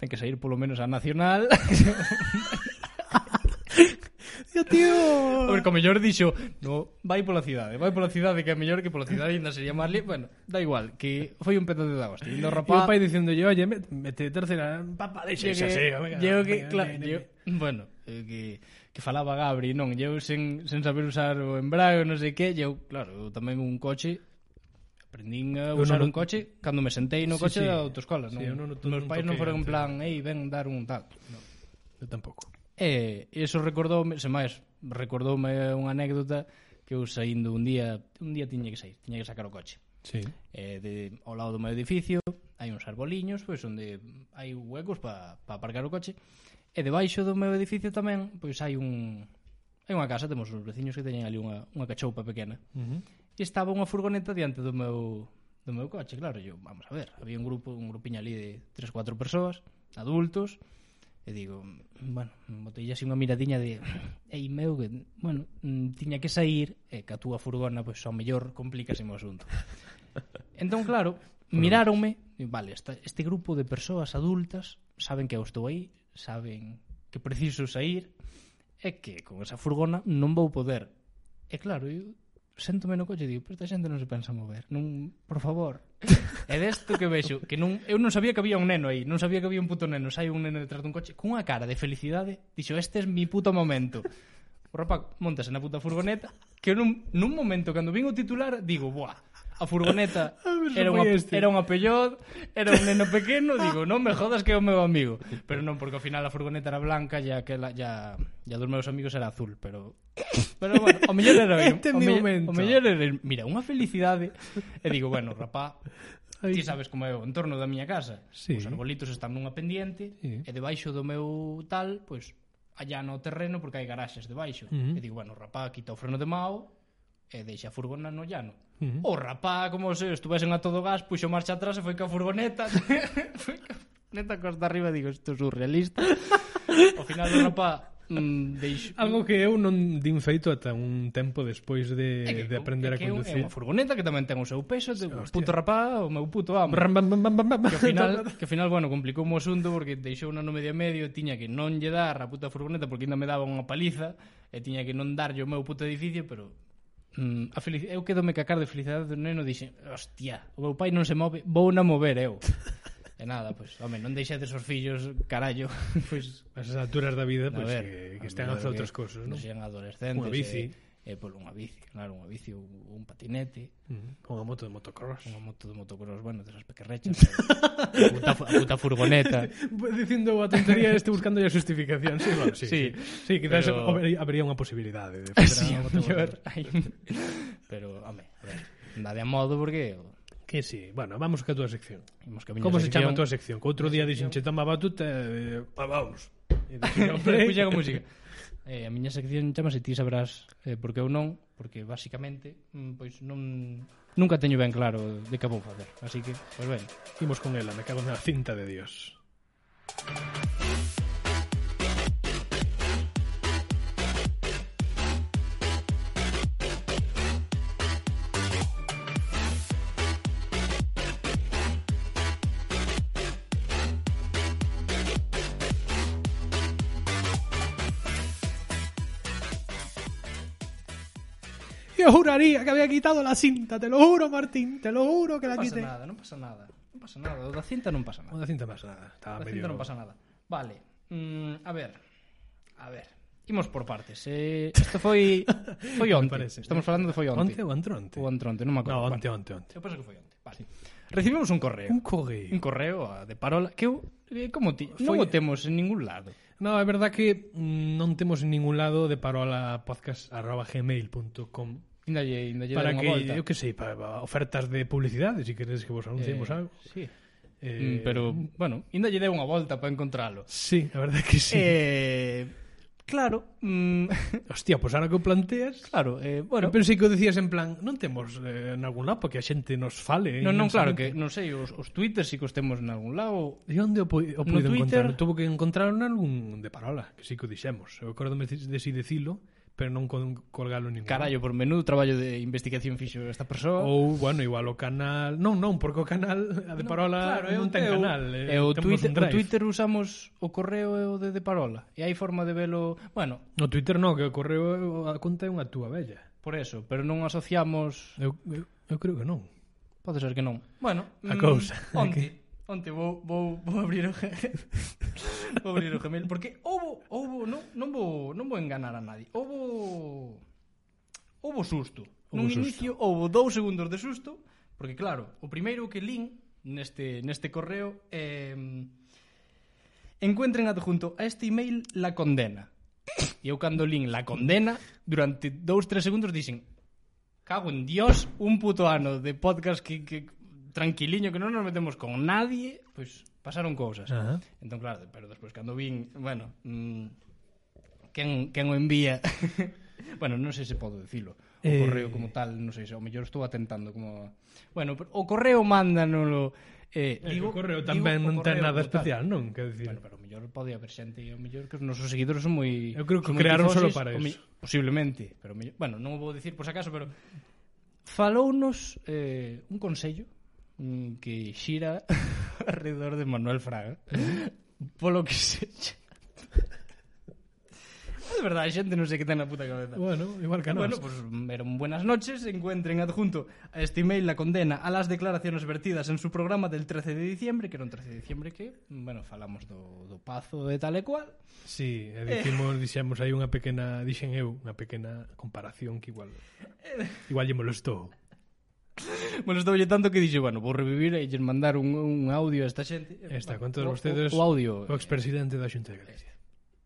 Speaker 3: ten que sair polo menos a Nacional.
Speaker 1: Tío, tío.
Speaker 3: Porque o mellor dixo, no, vai pola cidade, vai pola cidade, que é mellor que pola cidade ainda sería máis li... Bueno, da igual, que foi un petate de agosto.
Speaker 1: E o
Speaker 3: Indo rapaz...
Speaker 1: pai dicéndolle, oye, met- mete terceira, papá, deixa
Speaker 3: Llego
Speaker 1: esa
Speaker 3: que,
Speaker 1: sega, venga,
Speaker 3: llego que
Speaker 1: venga,
Speaker 3: claro,
Speaker 1: venga,
Speaker 3: llego- bueno, eh, que, que falaba Gabri, non, eu sen, sen saber usar o embrague, non sei que, eu, claro, eu tamén un coche, aprendín a
Speaker 1: Eu
Speaker 3: usar
Speaker 1: non-
Speaker 3: un coche cando me sentei no
Speaker 1: Sí,
Speaker 3: coche
Speaker 1: sí.
Speaker 3: da autoescola,
Speaker 1: Sí, eu
Speaker 3: non,
Speaker 1: non-
Speaker 3: non,
Speaker 1: non
Speaker 3: meus pais non
Speaker 1: toquei
Speaker 3: foron en
Speaker 1: antes.
Speaker 3: plan, ei, ven dar un tal.
Speaker 1: Eu tampouco.
Speaker 3: E iso recordoume, se máis, recordoume unha anécdota que eu saindo un día, un día tiña que sair, tiña que sacar o coche
Speaker 1: Sí.
Speaker 3: eh, de, ao lado do meu edificio hai uns arboliños pois onde hai huecos para pa aparcar o coche e debaixo do meu edificio tamén pois hai un hai unha casa, temos uns veciños que teñen ali unha, unha cachoupa pequena
Speaker 1: Ujú.
Speaker 3: e estaba unha furgoneta diante do meu do meu coche, claro, yo, vamos a ver, había un grupo, un grupiño ali de 3, 4 persoas, adultos, e digo, bueno, botei así unha miradiña de, ei meu, que, bueno, mm, tiña que sair, e que a túa furgona, pois, ao mellor, complícase o asunto. Entón, claro, miráronme, e, vale, esta, este grupo de persoas adultas saben que eu estou aí, saben que preciso sair, e que con esa furgona non vou poder. E claro, eu sento-me no coche e digo, pero esta xente non se pensa mover, non, por favor. e desto que vexo, que non, eu non sabía que había un neno aí, non sabía que había un puto neno, sai un neno detrás dun coche, cunha cara de felicidade, dixo, este é mi puto momento. O rapaz montase na puta furgoneta Que nun, nun momento, cando vin o titular Digo, buah, a furgoneta
Speaker 1: ver se
Speaker 3: Era unha,
Speaker 1: foi este.
Speaker 3: era unha pellot Era un neno pequeno Digo, non me jodas que é o meu amigo Pero non, porque ao final a furgoneta era blanca E aquela, ya, ya dos meus amigos era azul Pero, pero bueno, o mellor era
Speaker 1: Este é
Speaker 3: o,
Speaker 1: mi
Speaker 3: mellor-
Speaker 1: momento.
Speaker 3: o mellor era, mira, unha felicidade E digo, bueno, rapá
Speaker 1: Ai.
Speaker 3: Ti sabes como é o entorno da miña casa
Speaker 1: Sí.
Speaker 3: Os arbolitos están nunha pendiente
Speaker 1: Sí.
Speaker 3: E debaixo do meu tal, pois allá no terreno porque hai garaxes debaixo.
Speaker 1: Mhm.
Speaker 3: E digo, bueno, o rapá quita o freno de mao e deixa a furgona no llano.
Speaker 1: Mhm.
Speaker 3: O rapá, como se estuvesen a todo gas, puxo marcha atrás e foi ca furgoneta. foi ca furgoneta costa arriba, digo, isto é surrealista. Ao final o rapá mm, deixo...
Speaker 1: Algo que eu non din feito ata un tempo despois de,
Speaker 3: É que-
Speaker 1: de aprender
Speaker 3: é
Speaker 1: a
Speaker 3: que é un-
Speaker 1: conducir.
Speaker 3: É unha furgoneta que tamén ten o seu peso, te, o puto rapá, o meu puto amo.
Speaker 1: Ram, bam, bam, bam, bam, bam.
Speaker 3: que ao final, que ao final bueno, complicou o asunto porque deixou unha no medio a medio, tiña que non lle dar a puta furgoneta porque ainda me daba unha paliza e tiña que non darlle o meu puto edificio, pero mm, a felici- eu quedome cacar de felicidade do neno dixe, hostia, o meu pai non se move, vou na mover eu. e nada, pois, pues, home, non deixades os fillos, carallo, pois,
Speaker 1: As alturas da vida,
Speaker 3: a
Speaker 1: pois,
Speaker 3: ver, eh,
Speaker 1: que, que
Speaker 3: a
Speaker 1: estén a
Speaker 3: mellor
Speaker 1: facer outras cousas, non?
Speaker 3: sean adolescentes.
Speaker 1: Unha bici.
Speaker 3: E, e polo unha bici, claro, unha bici, un, un patinete.
Speaker 1: Mm, Unha moto de motocross.
Speaker 3: Unha moto de motocross, bueno, desas pequerrechas. a, puta, fu- a puta furgoneta.
Speaker 1: Pues Dicindo a tontería este buscando a xustificación. Sí, bueno, sí, sí. sí
Speaker 3: Sí,
Speaker 1: quizás
Speaker 3: pero-
Speaker 1: habería- habería unha posibilidade de facer
Speaker 3: Sí,
Speaker 1: unha moto de
Speaker 3: mellor,
Speaker 1: motocross.
Speaker 3: hai un- Pero, home, a ver, nada de modo porque
Speaker 1: Que sí. Bueno, vamos ca túa sección.
Speaker 3: imos camiño
Speaker 1: Como
Speaker 3: a
Speaker 1: se
Speaker 3: sección.
Speaker 1: chama a túa sección? Que outro día dixen, che toma batuta, eh, pa, vamos. E dixen, "Ao play".
Speaker 3: Escucha con música. Eh, a miña sección chamase ti sabrás eh, porque eu non, porque basicamente mm, pois non nunca teño ben claro de que vou facer. Así que, pois ben.
Speaker 1: Imos con ela, me cago na cinta de Dios. Yo juraría que había quitado la cinta, te lo juro, Martín, te lo juro que la
Speaker 3: Non pasa
Speaker 1: quité.
Speaker 3: nada, non pasa nada. Non pasa nada, o da cinta non pasa nada.
Speaker 1: O da cinta pasa nada. Estaba
Speaker 3: Da
Speaker 1: medio...
Speaker 3: cinta non pasa nada. Vale. Mm, a ver. A ver. Imos por partes. Eh, isto foi foi
Speaker 1: Me
Speaker 3: onte.
Speaker 1: parece.
Speaker 3: Estamos falando de foi onte.
Speaker 1: Onte ou antronte?
Speaker 3: O antronte, non me acordo.
Speaker 1: No,
Speaker 3: Bueno.
Speaker 1: onte, onte, onte.
Speaker 3: Eu penso que foi onte. Vale. Recibimos un correo.
Speaker 1: Un
Speaker 3: Un,
Speaker 1: correo.
Speaker 3: correo ah, de parola que eu eh, como ti, non
Speaker 1: Foi-
Speaker 3: o temos en ningún lado.
Speaker 1: No, é verdad que mm, non temos en ningún lado de parola podcast@gmail.com
Speaker 3: Inda lle, inda lle
Speaker 1: para
Speaker 3: dar
Speaker 1: que,
Speaker 3: unha volta.
Speaker 1: eu que sei, para, para ofertas de publicidade, si queres que vos anunciemos
Speaker 3: Eh,
Speaker 1: algo.
Speaker 3: Sí.
Speaker 1: Eh,
Speaker 3: Mm, Pero, bueno, inda lle dei unha volta para encontralo.
Speaker 1: Sí, a verdade que sí.
Speaker 3: Eh, Claro, mm,
Speaker 1: Hostia, pois ahora que o planteas...
Speaker 3: claro, eh,
Speaker 1: Bueno,
Speaker 3: bueno,
Speaker 1: eu pensei que o dicías en plan, non temos eh, en algún lado para que a xente nos fale.
Speaker 3: non, non, claro que, non sei, os, os Twitter si que os temos en algún lado,
Speaker 1: E onde o, poi- o
Speaker 3: No
Speaker 1: puido
Speaker 3: Twitter-
Speaker 1: encontrar? Tuvo que encontrar en algún de parola, que sí que o dixemos. Eu acordome de si dicilo, pero non con colgalo ningún.
Speaker 3: carallo, por menudo traballo de investigación fixo esta persoa.
Speaker 1: Ou, bueno, igual o canal... Non, non, porque o canal a de parola
Speaker 3: Claro, é
Speaker 1: non
Speaker 3: o-
Speaker 1: ten
Speaker 3: é o-
Speaker 1: canal.
Speaker 3: E o
Speaker 1: eh, temos
Speaker 3: Twitter,
Speaker 1: un
Speaker 3: o
Speaker 1: drive.
Speaker 3: Twitter usamos o correo e o de, de parola. E hai forma de velo... Bueno,
Speaker 1: No Twitter non, que o correo a conta é unha túa bella.
Speaker 3: por eso, pero non asociamos...
Speaker 1: Eu, eu, eu creo que non.
Speaker 3: Pode ser que non. Bueno,
Speaker 1: A
Speaker 3: mm,
Speaker 1: cousa.
Speaker 3: Onte, onte vou, vou, vou abrir o Gmail. vou abrir o Gmail porque houbo, houbo, non, non vou, non vou enganar a nadie. Houbo houbo susto. Nun
Speaker 1: Houbo susto.
Speaker 3: inicio houbo dous segundos de susto, porque claro, o primeiro que lin neste neste correo é eh, encuentren adjunto a este email la condena. E eu cando lin la condena, durante dous, tres segundos dixen Cago en Dios, un puto ano de podcast que, que tranquiliño, que non nos metemos con nadie, pois pues, pasaron cousas.
Speaker 1: Ajá.
Speaker 3: Entón, claro, pero despois cando vin, bueno, mm, quen, quen o envía... bueno, non sei se podo dicilo. O
Speaker 1: Eh.
Speaker 3: correo como tal, non sei se, ao mellor estou atentando como... a- Bueno, pero o correo mándanolo... Eh,
Speaker 1: Digo, o correo
Speaker 3: digo
Speaker 1: tamén
Speaker 3: o
Speaker 1: non ten
Speaker 3: correo
Speaker 1: nada
Speaker 3: como tal.
Speaker 1: especial, non? Quer dicir,
Speaker 3: Bueno, pero o mellor pode haber xente, o mellor que os nosos seguidores son moi
Speaker 1: Eu creo que
Speaker 3: son moi
Speaker 1: crearon
Speaker 3: tifosis,
Speaker 1: solo para
Speaker 3: o
Speaker 1: iso.
Speaker 3: me- Posiblemente, pero o mellor, bueno, non o vou dicir por se acaso, pero falounos eh, un consello mm, que xira alrededor de Manuel Fraga. Polo que se De verdade, a xente non sei que ten na puta cabeza.
Speaker 1: bueno igual que nós.
Speaker 3: Bueno, pues eran buenas noches. Encuentren adjunto a este email la condena a las declaraciones vertidas en su programa del 13 de diciembre, que era un 13 de diciembre que, bueno, falamos do, do pazo de tal e cual.
Speaker 1: Sí, e dicimos, dixemos aí unha pequena, dixen eu, unha pequena comparación que igual
Speaker 3: Eh,
Speaker 1: igual lle molestou.
Speaker 3: Bueno, estaba lle tanto que dixe, bueno, vou revivir e lle mandar un, un audio a esta xente.
Speaker 1: E Está, con
Speaker 3: O-
Speaker 1: todos
Speaker 3: o-
Speaker 1: vostedes
Speaker 3: O, audio.
Speaker 1: o expresidente da Xunta de Galicia.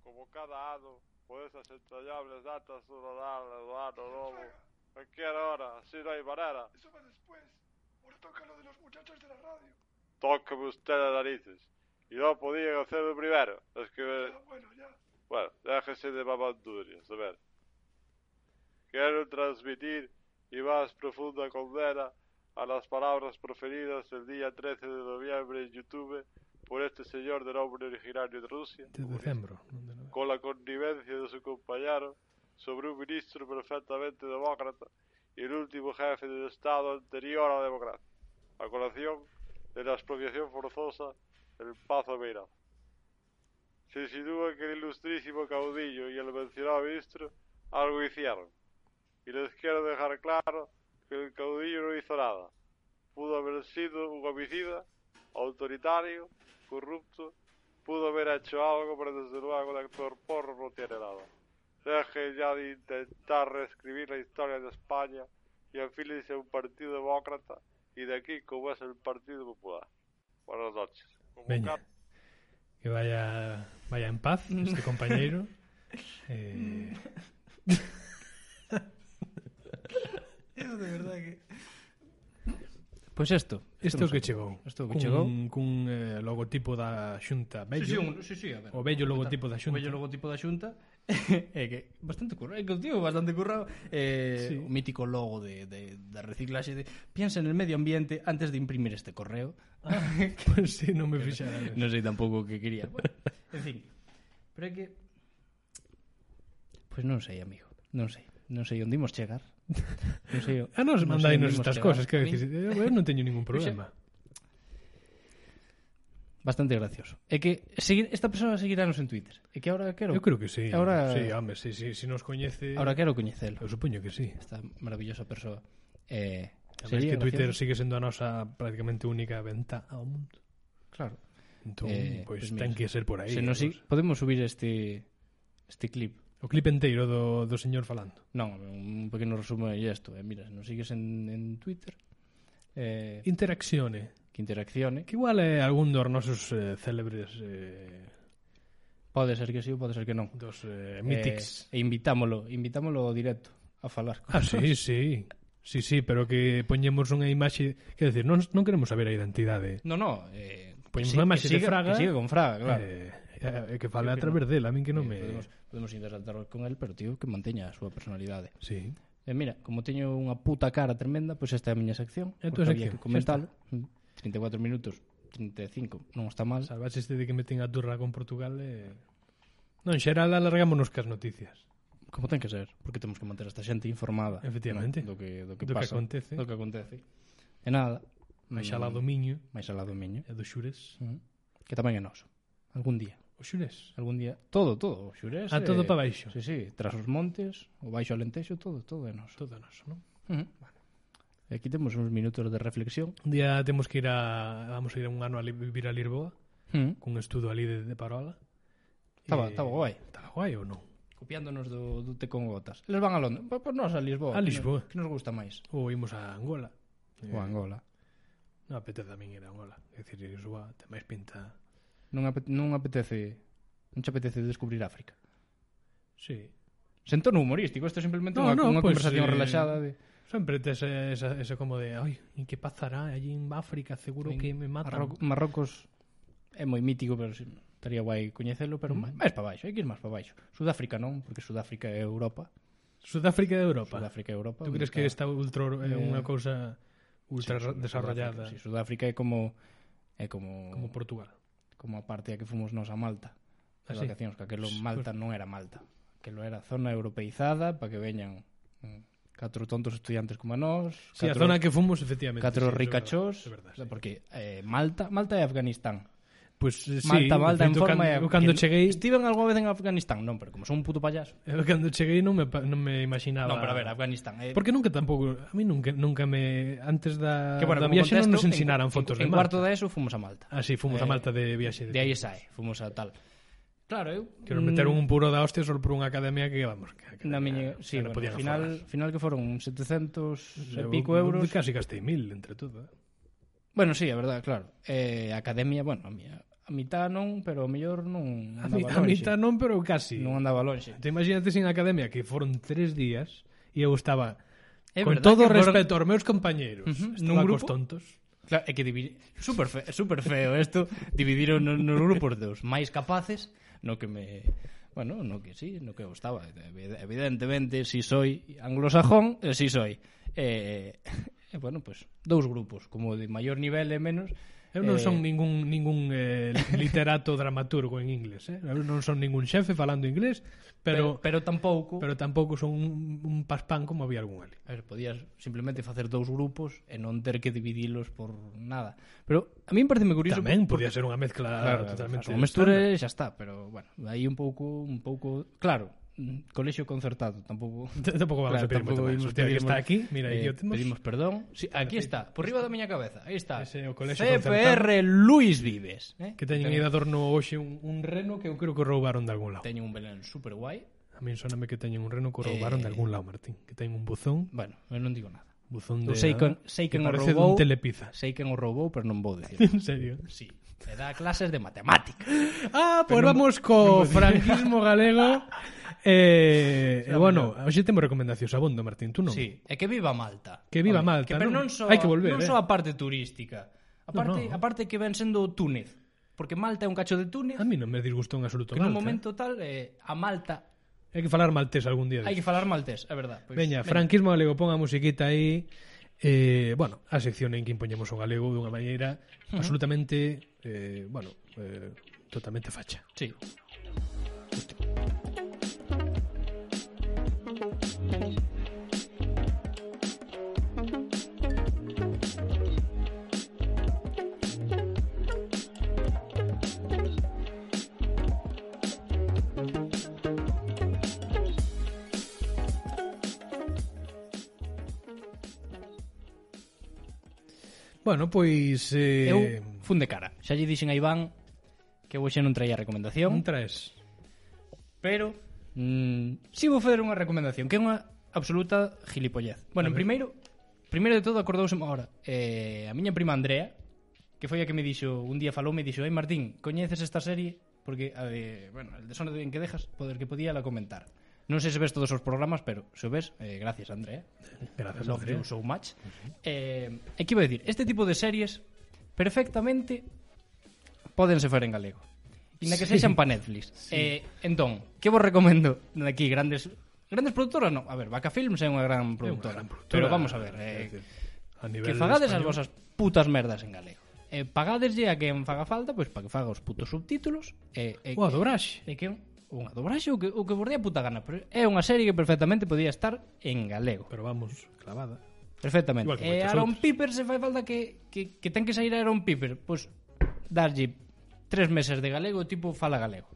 Speaker 8: como cada ano, por esas entrañables datas do Nadal e do Ano Novo. Cualquier hora, así no hay manera. Eso va después. Ahora toca lo de los muchachos de la radio. Tócame usted las narices. Y no podían hacerlo primero. Es que... Ah, bueno, ya. Bueno, déjese de mamandurias, a ver. Quiero transmitir mi más profunda condena a las palabras proferidas el día 13 de noviembre en YouTube por este señor de nombre originario de Rusia
Speaker 1: De decembro. non de novembro.
Speaker 8: con la connivencia de su compañero sobre un ministro perfectamente demócrata y el último jefe del Estado anterior a la democracia, a colación de la expropiación forzosa del Pazo Meirado. Se sitúa que el ilustrísimo caudillo y el mencionado ministro algo hicieron, y les quiero dejar claro que el caudillo no hizo nada. Pudo haber sido un homicida, autoritario, corrupto pudo haber hecho algo, pero desde luego el actor porro no tiene nada. Deje ya de intentar reescribir la historia de España y afíliese a un partido demócrata y de aquí como es el Partido Popular. Buenas noches. Como
Speaker 1: Veña.
Speaker 8: ca-
Speaker 1: Que vaya vaya en paz este compañeiro. Eh,
Speaker 3: de verdade que... Pois pues isto.
Speaker 1: isto que chegou.
Speaker 3: Isto que chegou.
Speaker 1: Cun, cun eh, logotipo da Xunta
Speaker 3: Sí, sí,
Speaker 1: bello.
Speaker 3: un, sí, sí, a ver.
Speaker 1: O bello logotipo da
Speaker 3: O
Speaker 1: Xunta.
Speaker 3: bello logotipo da Xunta. é eh, que bastante currado, é que o tío bastante currado. Eh,
Speaker 1: Sí.
Speaker 3: sí. O mítico logo de, de, da reciclaxe de piensa en el medio ambiente antes de imprimir este correo.
Speaker 1: Pois si, non me fixara. niso.
Speaker 3: non sei tampouco o que quería. Bueno, en fin. Pero é que Pois non sei, amigo. Non sei. Non sei onde imos chegar. Non sei. o-
Speaker 1: Ah, nos
Speaker 3: non sei
Speaker 1: mandainos
Speaker 3: onde imos
Speaker 1: estas
Speaker 3: chegar.
Speaker 1: cosas, que
Speaker 3: A min-
Speaker 1: decir, eu eu non teño ningún problema.
Speaker 3: Bastante gracioso. É que seguir, esta persona seguirános en Twitter. É que ahora quero
Speaker 1: Eu creo que sí.
Speaker 3: Ahora-
Speaker 1: Sí, home, sí, sí, si nos coñece...
Speaker 3: Ahora quero coñecelo.
Speaker 1: Eu supoño que sí.
Speaker 3: esta maravillosa persoa. Eh,
Speaker 1: Además
Speaker 3: sería
Speaker 1: que Twitter
Speaker 3: gracioso.
Speaker 1: sigue sendo a nosa prácticamente única venta ao mundo.
Speaker 3: claro.
Speaker 1: Entón, eh,
Speaker 3: Eh,
Speaker 1: pois pues
Speaker 3: pues mira,
Speaker 1: ten que ser por aí.
Speaker 3: Se nos, si-
Speaker 1: amigos.
Speaker 3: podemos subir este este clip.
Speaker 1: O clip enteiro do, do señor falando.
Speaker 3: Non, un pequeno resumo de isto, eh, mira, se nos sigues en, en Twitter eh,
Speaker 1: Interaccione.
Speaker 3: que interaccione,
Speaker 1: Que igual é algún dos nosos eh, célebres eh,
Speaker 3: pode ser que si, sí, pode ser que non.
Speaker 1: dos eh, mítics.
Speaker 3: Eh, e invitámolo, invitámolo ao directo a falar.
Speaker 1: Ah, sí, sí. Sí, sí, pero que poñemos unha imaxe... Quer decir, non, non queremos saber a identidade.
Speaker 3: No, no, eh,
Speaker 1: Pois
Speaker 3: que
Speaker 1: unha
Speaker 3: si-
Speaker 1: imaxe
Speaker 3: que
Speaker 1: de
Speaker 3: siga,
Speaker 1: Fraga.
Speaker 3: que siga con Fraga, claro. Eh,
Speaker 1: Eh, e eh, que fale a través dela, a min que non me...
Speaker 3: podemos, podemos interactuar con el, pero tío, que manteña a súa personalidade.
Speaker 1: Sí.
Speaker 3: E mira, como teño unha puta cara tremenda, pois esta é a miña sección.
Speaker 1: É a
Speaker 3: porque
Speaker 1: túa
Speaker 3: había
Speaker 1: sección,
Speaker 3: que Mm, comentarlo. 34 minutos, 35, non está mal.
Speaker 1: Salvaxe este de que meten a turra con Portugal eh, e... Non, en xeral alargámonos cas noticias.
Speaker 3: Como ten que ser, porque temos que manter a esta xente informada.
Speaker 1: Efectivamente.
Speaker 3: non? Do que, do que
Speaker 1: Do Mm. que
Speaker 3: pasa.
Speaker 1: acontece.
Speaker 3: Do que acontece. E nada.
Speaker 1: Máis alá do Miño
Speaker 3: máis alá do miño.
Speaker 1: e do Xures.
Speaker 3: Mm. Que tamén é noso. Algún día.
Speaker 1: O Xures?
Speaker 3: Algún día. Todo, todo. O Xurés.
Speaker 1: Ah, todo pa baixo.
Speaker 3: Sí, sí. Tras os montes, o baixo alentexo, todo, todo é noso.
Speaker 1: Todo noso, non?
Speaker 3: Ujú. E aquí temos uns minutos de reflexión.
Speaker 1: Un día temos que ir a... Vamos a ir un ano a li- vivir a Lisboa
Speaker 3: Mm.
Speaker 1: cun estudo ali de, de Parola. E-
Speaker 3: Estaba, estaba guai.
Speaker 1: Estaba guai ou non?
Speaker 3: Copiándonos do, do té con gotas. Eles van a Londres. Pois pues nós a Lisboa.
Speaker 1: A Lisboa.
Speaker 3: Que nos, que nos gusta máis.
Speaker 1: Ou imos a Angola. Eh,
Speaker 3: O Angola.
Speaker 1: Non apetece a min ir a Angola. É dicir, Lisboa ten máis pinta...
Speaker 3: Non, apete, non apetece... Non te apetece descubrir África.
Speaker 1: Sí.
Speaker 3: Sen tono humorístico, isto é simplemente
Speaker 1: No,
Speaker 3: unha,
Speaker 1: no,
Speaker 3: unha
Speaker 1: pues, eh,
Speaker 3: conversación relaxada de
Speaker 1: Sempre tes esa, esa como de, ai, e que pasará allí en África, seguro que me matan.
Speaker 3: Marro- Marrocos é moi mítico, pero sí, estaría guai coñecelo, pero mm. máis para baixo, hai que ir máis para baixo. Sudáfrica non, porque Sudáfrica é Europa.
Speaker 1: Sudáfrica de Europa.
Speaker 3: Sudáfrica é Europa.
Speaker 1: Tú crees que está ultra é unha cousa ultra ra- desarrollada
Speaker 3: Sí, Sudáfrica é como é como
Speaker 1: como
Speaker 3: como,
Speaker 1: Portugal?
Speaker 3: como a parte a que fomos nós a Malta.
Speaker 1: Ah,
Speaker 3: As
Speaker 1: sí.
Speaker 3: vacacións, que aquelo Malta non era Malta. Aquelo era zona europeizada para que veñan mm, catro tontos estudiantes como a nós,
Speaker 1: Sí, a
Speaker 3: catro,
Speaker 1: zona que fomos efectivamente.
Speaker 3: catro
Speaker 1: sí, eso é
Speaker 3: ricachós,
Speaker 1: verdad, é verdad, sí.
Speaker 3: porque eh, Malta, Malta é Afganistán.
Speaker 1: Pois eh, sí,
Speaker 3: Malta, Malta
Speaker 1: de
Speaker 3: en
Speaker 1: feito,
Speaker 3: forma
Speaker 1: can-
Speaker 3: e-
Speaker 1: eu cando
Speaker 3: que
Speaker 1: cheguei,
Speaker 3: Estiven algunha vez en Afganistán, non, pero como son un puto payaso.
Speaker 1: eu cando cheguei non me pa- non me imaginaba.
Speaker 3: Non, pero a ver, Afganistán eh,
Speaker 1: Porque nunca tampouco, a mí nunca nunca me antes da
Speaker 3: que, bueno,
Speaker 1: da
Speaker 3: como
Speaker 1: viaxe non
Speaker 3: contexto,
Speaker 1: nos ensinaran
Speaker 3: en,
Speaker 1: fotos
Speaker 3: en,
Speaker 1: de
Speaker 3: en cuarto
Speaker 1: Malta.
Speaker 3: de eso fomos a Malta.
Speaker 1: Ah, sí, fomos a
Speaker 3: Eh,
Speaker 1: Malta de viaxe
Speaker 3: De aí sae, fomos a tal. Claro, eu
Speaker 1: Que nos meteron un puro da hostia só por unha academia que vamos, que, que
Speaker 3: mm, na miña,
Speaker 1: que
Speaker 3: sí,
Speaker 1: non
Speaker 3: bueno,
Speaker 1: podían
Speaker 3: final,
Speaker 1: afogar.
Speaker 3: final que foron 700 e
Speaker 1: Eu-
Speaker 3: pico euros.
Speaker 1: Casi gastei mil entre todo. eh.
Speaker 3: Bueno, sí, a verdade, claro. Eh, a academia, bueno, a, mi, a mitad non, pero o mellor non
Speaker 1: A, mi,
Speaker 3: andaba
Speaker 1: a
Speaker 3: lonxe.
Speaker 1: mitad non, pero casi.
Speaker 3: Ah, non andaba lonxe.
Speaker 1: Te imagínate sin academia que foron tres días e eu estaba
Speaker 3: É
Speaker 1: con
Speaker 3: verdad
Speaker 1: todo
Speaker 3: que foron-
Speaker 1: respeto aos meus compañeiros,
Speaker 3: Ujú,
Speaker 1: estaba
Speaker 3: nun grupo?
Speaker 1: cos tontos.
Speaker 3: Claro, é que dividir super feo, super feo isto, dividiron nos, nos grupos dos máis capaces, no que me Bueno, no que sí, no que eu estaba Evide- Evidentemente, si soy anglosajón, eh, si soy eh, eh, Bueno, pues, dous grupos Como de maior nivel e menos
Speaker 1: Eu non
Speaker 3: eh,
Speaker 1: son ningún ningún eh, literato dramaturgo en inglés, eh? Eu non son ningún xefe falando inglés, pero
Speaker 3: pero, pero tampouco
Speaker 1: pero tampouco son un, un paspán como había algún ali.
Speaker 3: A ver, podías simplemente facer dous grupos E non ter que dividilos por nada Pero a mí me parece moi curioso
Speaker 1: Tamén
Speaker 3: porque-
Speaker 1: podía ser unha mezcla
Speaker 3: claro,
Speaker 1: totalmente.
Speaker 3: claro, o mesture xa está, pero bueno, aí un pouco un pouco, claro, mm, colexio concertado, tampouco
Speaker 1: estándar. Tampouco vamos a
Speaker 3: claro,
Speaker 1: pedir moito
Speaker 3: tampouco
Speaker 1: máis.
Speaker 3: imos
Speaker 1: Hostia, que
Speaker 3: pedir
Speaker 1: está
Speaker 3: moito.
Speaker 1: aquí, mira, aquí
Speaker 3: eh,
Speaker 1: o temos.
Speaker 3: pedimos perdón. Sí, aquí está, por riba da miña cabeza, aí está.
Speaker 1: Ese é o colexio
Speaker 3: CPR Luis Vives, eh?
Speaker 1: Que teñen aí de adorno hoxe un, un reno que eu creo que roubaron de algún lado.
Speaker 3: teñen un Belén super guai.
Speaker 1: A min soname que teñen un reno que roubaron
Speaker 3: Eh.
Speaker 1: de algún lado, Martín. Que teñen un buzón
Speaker 3: Bueno, eu non digo nada.
Speaker 1: Buzón
Speaker 3: Eu
Speaker 1: de...
Speaker 3: sei que sei que
Speaker 1: que
Speaker 3: o
Speaker 1: parece
Speaker 3: roubou,
Speaker 1: dun telepizza.
Speaker 3: sei que o roubou, pero non vou dicir.
Speaker 1: En serio.
Speaker 3: sí, e dá clases de matemática.
Speaker 1: Ah, pois vamos co franquismo galego. Eh, e bueno, hoxe temos recomendacións abondo, Martín, tú non?
Speaker 3: Sí, é que viva Malta.
Speaker 1: Que viva
Speaker 3: Home,
Speaker 1: Malta,
Speaker 3: Que, pero
Speaker 1: non?
Speaker 3: non só,
Speaker 1: Hai que volver, eh.
Speaker 3: non só a parte turística. A parte,
Speaker 1: no.
Speaker 3: a parte que ven sendo Túnez. Porque Malta é un cacho de Túnez.
Speaker 1: A mí non me disgustou en absoluto
Speaker 3: que
Speaker 1: Ah,
Speaker 3: nun
Speaker 1: Malta.
Speaker 3: momento tal, eh, a Malta
Speaker 1: Hai que falar maltés algún día.
Speaker 3: hai que
Speaker 1: disto.
Speaker 3: falar maltés, é verdad. Pois,
Speaker 1: Veña, franquismo galego, pon a musiquita aí. Eh, bueno, a sección en que impoñemos o galego dunha maneira absolutamente, eh, bueno, eh, totalmente facha.
Speaker 3: Sí.
Speaker 1: Bueno, pois... Eh,
Speaker 3: Eu fun de cara. Xa lle dixen a Iván que hoxe non traía
Speaker 1: Un
Speaker 3: recomendación,
Speaker 1: traes.
Speaker 3: pero mm, si vou fazer unha recomendación, que é unha absoluta gilipollez. Bueno, en primeiro, primeiro de todo acordouse agora eh, a miña prima Andrea, que foi a que me dixo, un día falou, me dixo, "Ai Martín, coñeces esta serie?" Porque a de, bueno, el desorden que dejas, poder que podía la comentar. Non sei se ves todos os programas, pero se o ves, eh, gracias Andrea.
Speaker 1: Gracias,
Speaker 3: Love
Speaker 1: Andrea.
Speaker 3: you so much. Eh, e que iba a decir, este tipo de series perfectamente pódense fer en galego. Inda que sexan pa Netflix. Eh, entón, que vos recomendo de aquí grandes grandes productoras? No, a ver, Vaca Films é unha gran productora,
Speaker 1: gran productora,
Speaker 3: pero vamos a ver,
Speaker 1: é
Speaker 3: eh,
Speaker 1: decir, a nivel
Speaker 3: que fagades as
Speaker 1: español.
Speaker 3: vosas putas merdas en galego. Eh, pagadeslle a quen faga falta, pois para que faga os putos subtítulos e eh, eh,
Speaker 1: Ua, dobraxe.
Speaker 3: É que é unha dobraxe o que, o que vos dé a puta gana Pero é unha serie que perfectamente podía estar en galego
Speaker 1: Pero vamos, clavada.
Speaker 3: Perfectamente
Speaker 1: Igual que
Speaker 3: E
Speaker 1: moitas
Speaker 3: Eh, Aaron
Speaker 1: outras.
Speaker 3: Piper se fai falta que, que, que ten que sair Aaron Piper Pois darlle tres meses de galego e tipo fala galego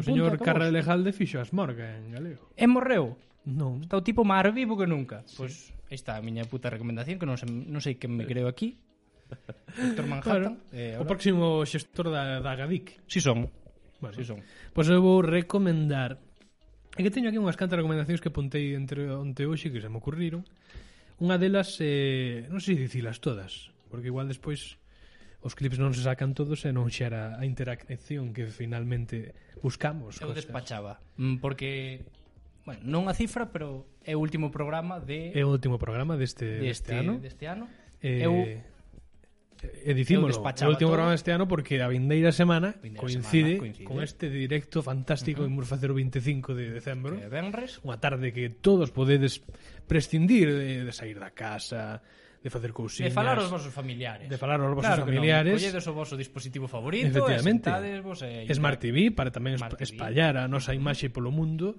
Speaker 1: O
Speaker 3: punto,
Speaker 1: señor
Speaker 3: acabou.
Speaker 1: Carra de Lejalde fixo as morga en galego.
Speaker 3: E morreu
Speaker 1: Non.
Speaker 3: Está o tipo máis vivo que nunca Pois aí está a miña puta recomendación Que non, se, non sei que me creo aquí
Speaker 1: Claro.
Speaker 3: Doctor Manhattan eh,
Speaker 1: o
Speaker 3: ahora-
Speaker 1: próximo xestor da, da Gadic.
Speaker 3: Si son
Speaker 1: Bueno,
Speaker 3: Si son
Speaker 1: Pois eu vou recomendar É que teño aquí unhas cantas recomendacións que apuntei entre onte e hoxe que se me ocurriron. Unha delas, eh, non sei dicilas todas, porque igual despois os clips non se sacan todos e non xera a interacción que finalmente buscamos.
Speaker 3: Eu
Speaker 1: cosas.
Speaker 3: despachaba mm, Porque bueno, non a cifra Pero é o último programa
Speaker 1: É
Speaker 3: de,
Speaker 1: o último programa deste, deste, ano.
Speaker 3: deste ano.
Speaker 1: Eh,
Speaker 3: Eu
Speaker 1: e dicímolo, é
Speaker 3: eu
Speaker 1: o
Speaker 3: despachaba
Speaker 1: último
Speaker 3: todo.
Speaker 1: programa deste ano porque a vindeira semana
Speaker 3: Vindeira
Speaker 1: coincide,
Speaker 3: semana, coincide.
Speaker 1: con este directo fantástico uh -huh. que imos facer o 25 de decembro.
Speaker 3: que é eh, Benres
Speaker 1: unha tarde que todos podedes prescindir de, de sair da casa, de facer
Speaker 3: De
Speaker 1: cousiñas.
Speaker 3: falar aos vosos familiares
Speaker 1: de falar aos vosos
Speaker 3: claro que
Speaker 1: familiares.
Speaker 3: non, Colledes o voso dispositivo favorito
Speaker 1: Efectivamente.
Speaker 3: E sentades vos e...
Speaker 1: Smart TV para tamén Smart
Speaker 3: Smart TV.
Speaker 1: espallar a nosa imaxe polo mundo.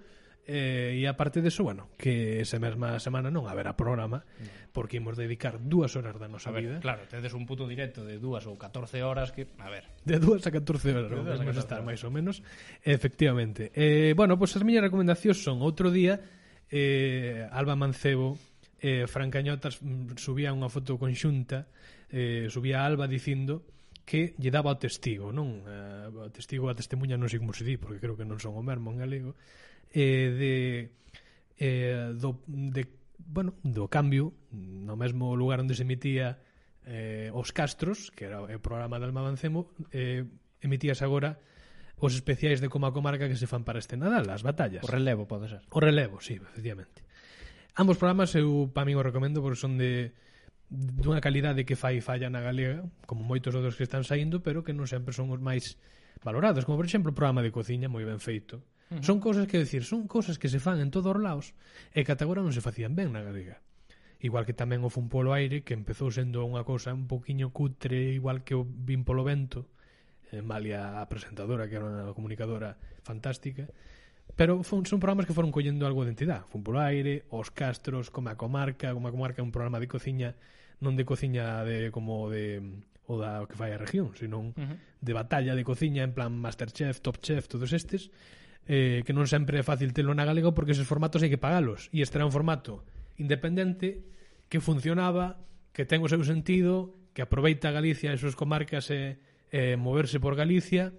Speaker 1: Eh, e aparte deso, bueno, que esa mesma semana non haberá programa porque imos dedicar dúas horas da nosa
Speaker 3: Mm. A ver,
Speaker 1: vida
Speaker 3: claro, tedes un puto directo de dúas ou 14 horas que, a ver,
Speaker 1: De 2 a 14 horas,
Speaker 3: De dúas
Speaker 1: vamos a
Speaker 3: a 14
Speaker 1: estar
Speaker 3: horas.
Speaker 1: máis ou menos. Efectivamente. Eh, bueno, pois as miñas recomendacións son outro día eh, Alba Mancebo eh, Fran Cañotas mm, subía unha foto conxunta eh, subía a Alba dicindo que lle daba o testigo non eh, o testigo a testemunha non sei como se di porque creo que non son o mesmo en galego eh, de eh, do, de, bueno, do cambio no mesmo lugar onde se emitía eh, Os Castros, que era o programa de Alma Mancemo, eh, emitías agora os especiais de Coma Comarca que se fan para este Nadal, as batallas.
Speaker 3: o relevo pode ser.
Speaker 1: O relevo, sí, efectivamente. Ambos programas eu pa min o recomendo porque son de dunha calidade que fai falla na galega, como moitos outros que están saindo, pero que non sempre son os máis valorados, como por exemplo o programa de cociña moi ben feito. Uh -huh. Son cousas que decir, son cousas que se fan en todos os laos e que ata agora non se facían ben na galega. Igual que tamén o fun polo aire, que empezou sendo unha cousa un poquiño cutre, igual que o vin polo vento, eh, malia a presentadora, que era unha comunicadora fantástica, Pero fun, son programas que foron collendo algo de entidade. Fun polo aire, Os Castros, Coma Comarca, Coma Comarca é un programa de cociña, non de cociña de como de o da o que fai a región, senón uh -huh. de batalla de cociña en plan Masterchef, Top Chef, todos estes, eh, que non sempre é fácil telo na galego porque esos formatos hai que pagalos. E este era un formato independente que funcionaba, que ten o seu sentido, que aproveita Galicia e as súas comarcas e, e moverse por Galicia,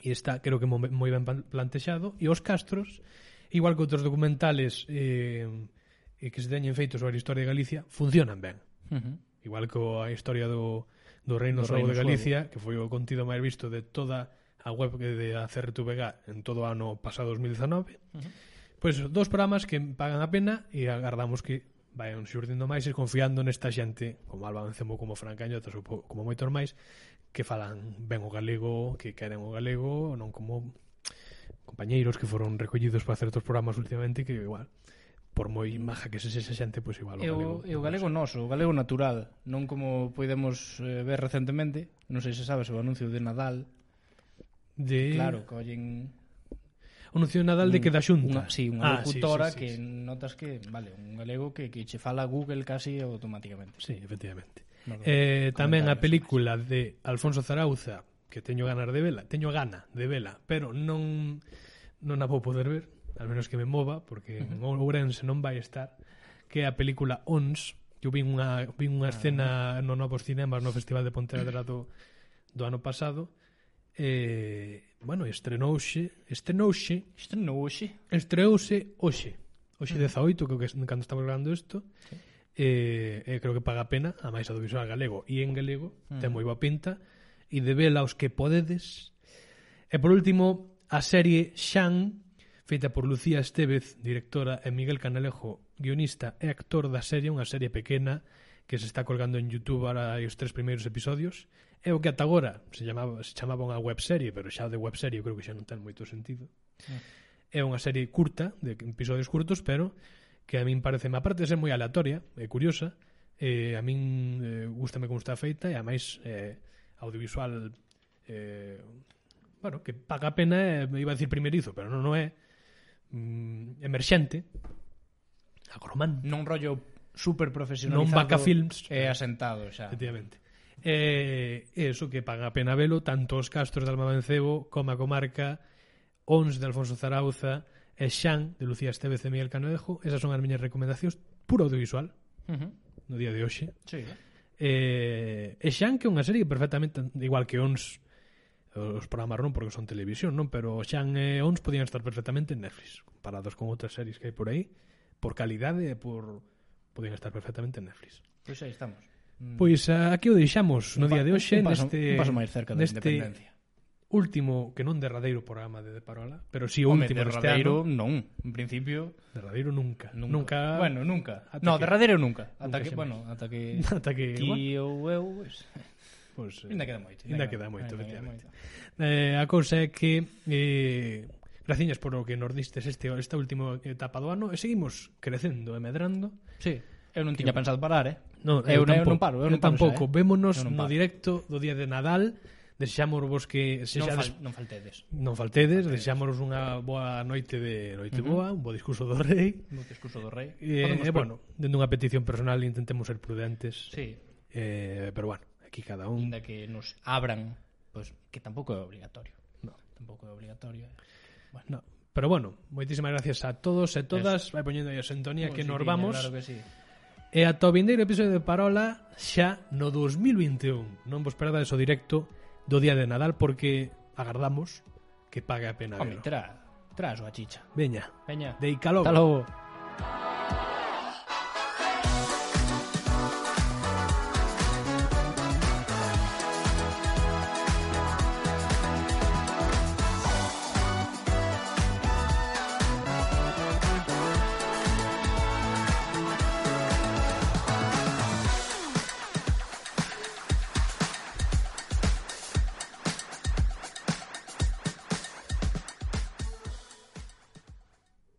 Speaker 1: e está creo que mo- moi ben pan- plantexado e os castros igual que outros documentales eh, eh, que se teñen feitos sobre a historia de Galicia funcionan ben igual que a historia do, do Reino
Speaker 3: Do
Speaker 1: Suavo
Speaker 3: Reino
Speaker 1: de Galicia que foi o contido máis visto de toda a web que de a CRTVG en todo o ano pasado 2019 uh -huh. pois dos programas que pagan a pena e agardamos que vayan xurdindo máis e confiando nesta xente como Alba Mancebo, como Fran Cañotas ou po- como moitos máis que falan ben o galego, que queren o galego, non como compañeiros que foron recollidos para certos programas últimamente que igual por moi maja que se se xente, pois igual o
Speaker 3: E
Speaker 1: galego.
Speaker 3: o, e o galego noso, o galego natural, non como podemos eh, ver recentemente, non sei se sabes o anuncio de Nadal,
Speaker 1: de
Speaker 3: claro, collen
Speaker 1: anuncio de Nadal de que da xunta.
Speaker 3: Unha, sí, unha
Speaker 1: Ah, sí, sí,
Speaker 3: locutora
Speaker 1: sí,
Speaker 3: que
Speaker 1: sí.
Speaker 3: notas que, vale, un galego que, que che fala Google casi automáticamente.
Speaker 1: Sí, efectivamente.
Speaker 3: No, no.
Speaker 1: Eh, tamén a
Speaker 3: Comentarios,
Speaker 1: película de Alfonso Zarauza que teño ganas de vela, teño gana de vela, pero non non a vou poder ver, al menos que me mova porque en Ourense non vai estar, que é a película Ons, eu vin unha vin unha escena no Novos Cinemas no Festival de Pontevedra do do ano pasado. Eh, bueno, estrenouse, estrenouse
Speaker 3: Isto non hoxe.
Speaker 1: Estreouse hoxe, hoxe 18, creo que es- cando estamos grabando isto. Eh, eh, creo que paga a pena, a máis audiovisual galego e en galego, ten moi boa pinta e de vela os que podedes. E por último, a serie Xan, feita por Lucía Estevez, directora, e Miguel Canalejo, guionista e actor da serie, unha serie pequena que se está colgando en YouTube ahora os tres primeiros episodios. É o que ata agora se chamaba, se chamaba unha webserie, pero xa de webserie eu creo que xa non ten moito sentido. É unha serie curta, de episodios curtos, pero que a min parece, aparte de ser moi aleatoria e curiosa, eh, a min eh, gustame como está feita e a máis eh, audiovisual eh, bueno, que paga a pena, eh, iba a decir primerizo, pero non, non é mm, emerxente, agromante,
Speaker 3: Non rollo super profesional.
Speaker 1: Non vaca films.
Speaker 3: E asentado xa.
Speaker 1: Efectivamente. Eh, eso que paga a pena velo tanto os castros de Almavencebo como a comarca Ons de Alfonso Zarauza e Xan de Lucía Estevez e Miguel Canoejo esas son as miñas recomendacións puro audiovisual
Speaker 3: Ujú.
Speaker 1: no día de hoxe
Speaker 3: Sí.
Speaker 1: eh, e Xan que é unha serie perfectamente igual que Ons os programas non porque son televisión non pero Xan e Ons podían estar perfectamente en Netflix comparados con outras series que hai por aí por calidade e por podían estar perfectamente en Netflix
Speaker 3: Pois aí estamos.
Speaker 1: Pois ah, aquí o deixamos no
Speaker 3: Un pa-
Speaker 1: día de hoxe
Speaker 3: un paso-
Speaker 1: neste
Speaker 3: un paso máis cerca da
Speaker 1: neste
Speaker 3: independencia.
Speaker 1: último que non derradeiro programa de De Parola, pero si sí o
Speaker 3: Home,
Speaker 1: último deste
Speaker 3: derradeiro
Speaker 1: ano.
Speaker 3: non, en principio
Speaker 1: Derradeiro nunca.
Speaker 3: nunca.
Speaker 1: Nunca.
Speaker 3: Bueno, nunca.
Speaker 1: Ata
Speaker 3: No,
Speaker 1: que-
Speaker 3: derradeiro nunca.
Speaker 1: Nunca
Speaker 3: Ata que,
Speaker 1: xa
Speaker 3: bueno,
Speaker 1: máis.
Speaker 3: ata que
Speaker 1: Ata que,
Speaker 3: ti
Speaker 1: bueno.
Speaker 3: ou eu, pois,
Speaker 1: Pois, eh,
Speaker 3: Ainda queda moito.
Speaker 1: Ainda queda moito,
Speaker 3: ainda queda
Speaker 1: efectivamente.
Speaker 3: moito.
Speaker 1: Eh, a cousa é que eh, graciñas por o que nos distes este, esta última etapa do ano e seguimos crecendo e medrando.
Speaker 3: Sí, eu non tiña pensado parar, eh.
Speaker 1: No,
Speaker 3: eu,
Speaker 1: tampouco.
Speaker 3: non paro, eu, non paro xa,
Speaker 1: tampouco.
Speaker 3: eh.
Speaker 1: Vémonos
Speaker 3: Eu non
Speaker 1: no
Speaker 3: paro.
Speaker 1: directo do día de Nadal. Desexamos vos que
Speaker 3: Non,
Speaker 1: sexades
Speaker 3: fal, non faltedes.
Speaker 1: Non faltedes, desexámonos unha boa noite de noite boa, un bo discurso do rei.
Speaker 3: No te excuso do rei.
Speaker 1: E,
Speaker 3: Podemos
Speaker 1: eh,
Speaker 3: pro-
Speaker 1: bueno, dende unha petición personal intentemos ser prudentes.
Speaker 3: Sí,
Speaker 1: Eh, pero bueno, aquí cada un.
Speaker 3: ainda que nos abran, pois que tampouco é obligatorio.
Speaker 1: No.
Speaker 3: Tampouco é obligatorio.
Speaker 1: No. Pero bueno, moitísimas gracias a todos e todas. Vai poñendo aí a sintonía que
Speaker 3: Sí,
Speaker 1: nos
Speaker 3: tiña,
Speaker 1: vamos.
Speaker 3: Claro que sí.
Speaker 1: E ata o vindeiro episodio de Parola xa no 2021. Non vos perdades o directo do Día de Nadal porque agardamos que pague a pena
Speaker 3: Home,
Speaker 1: velo.
Speaker 3: tra, tras o a chicha.
Speaker 1: Veña,
Speaker 3: Veña.
Speaker 1: de Icalobo.
Speaker 3: Hasta logo.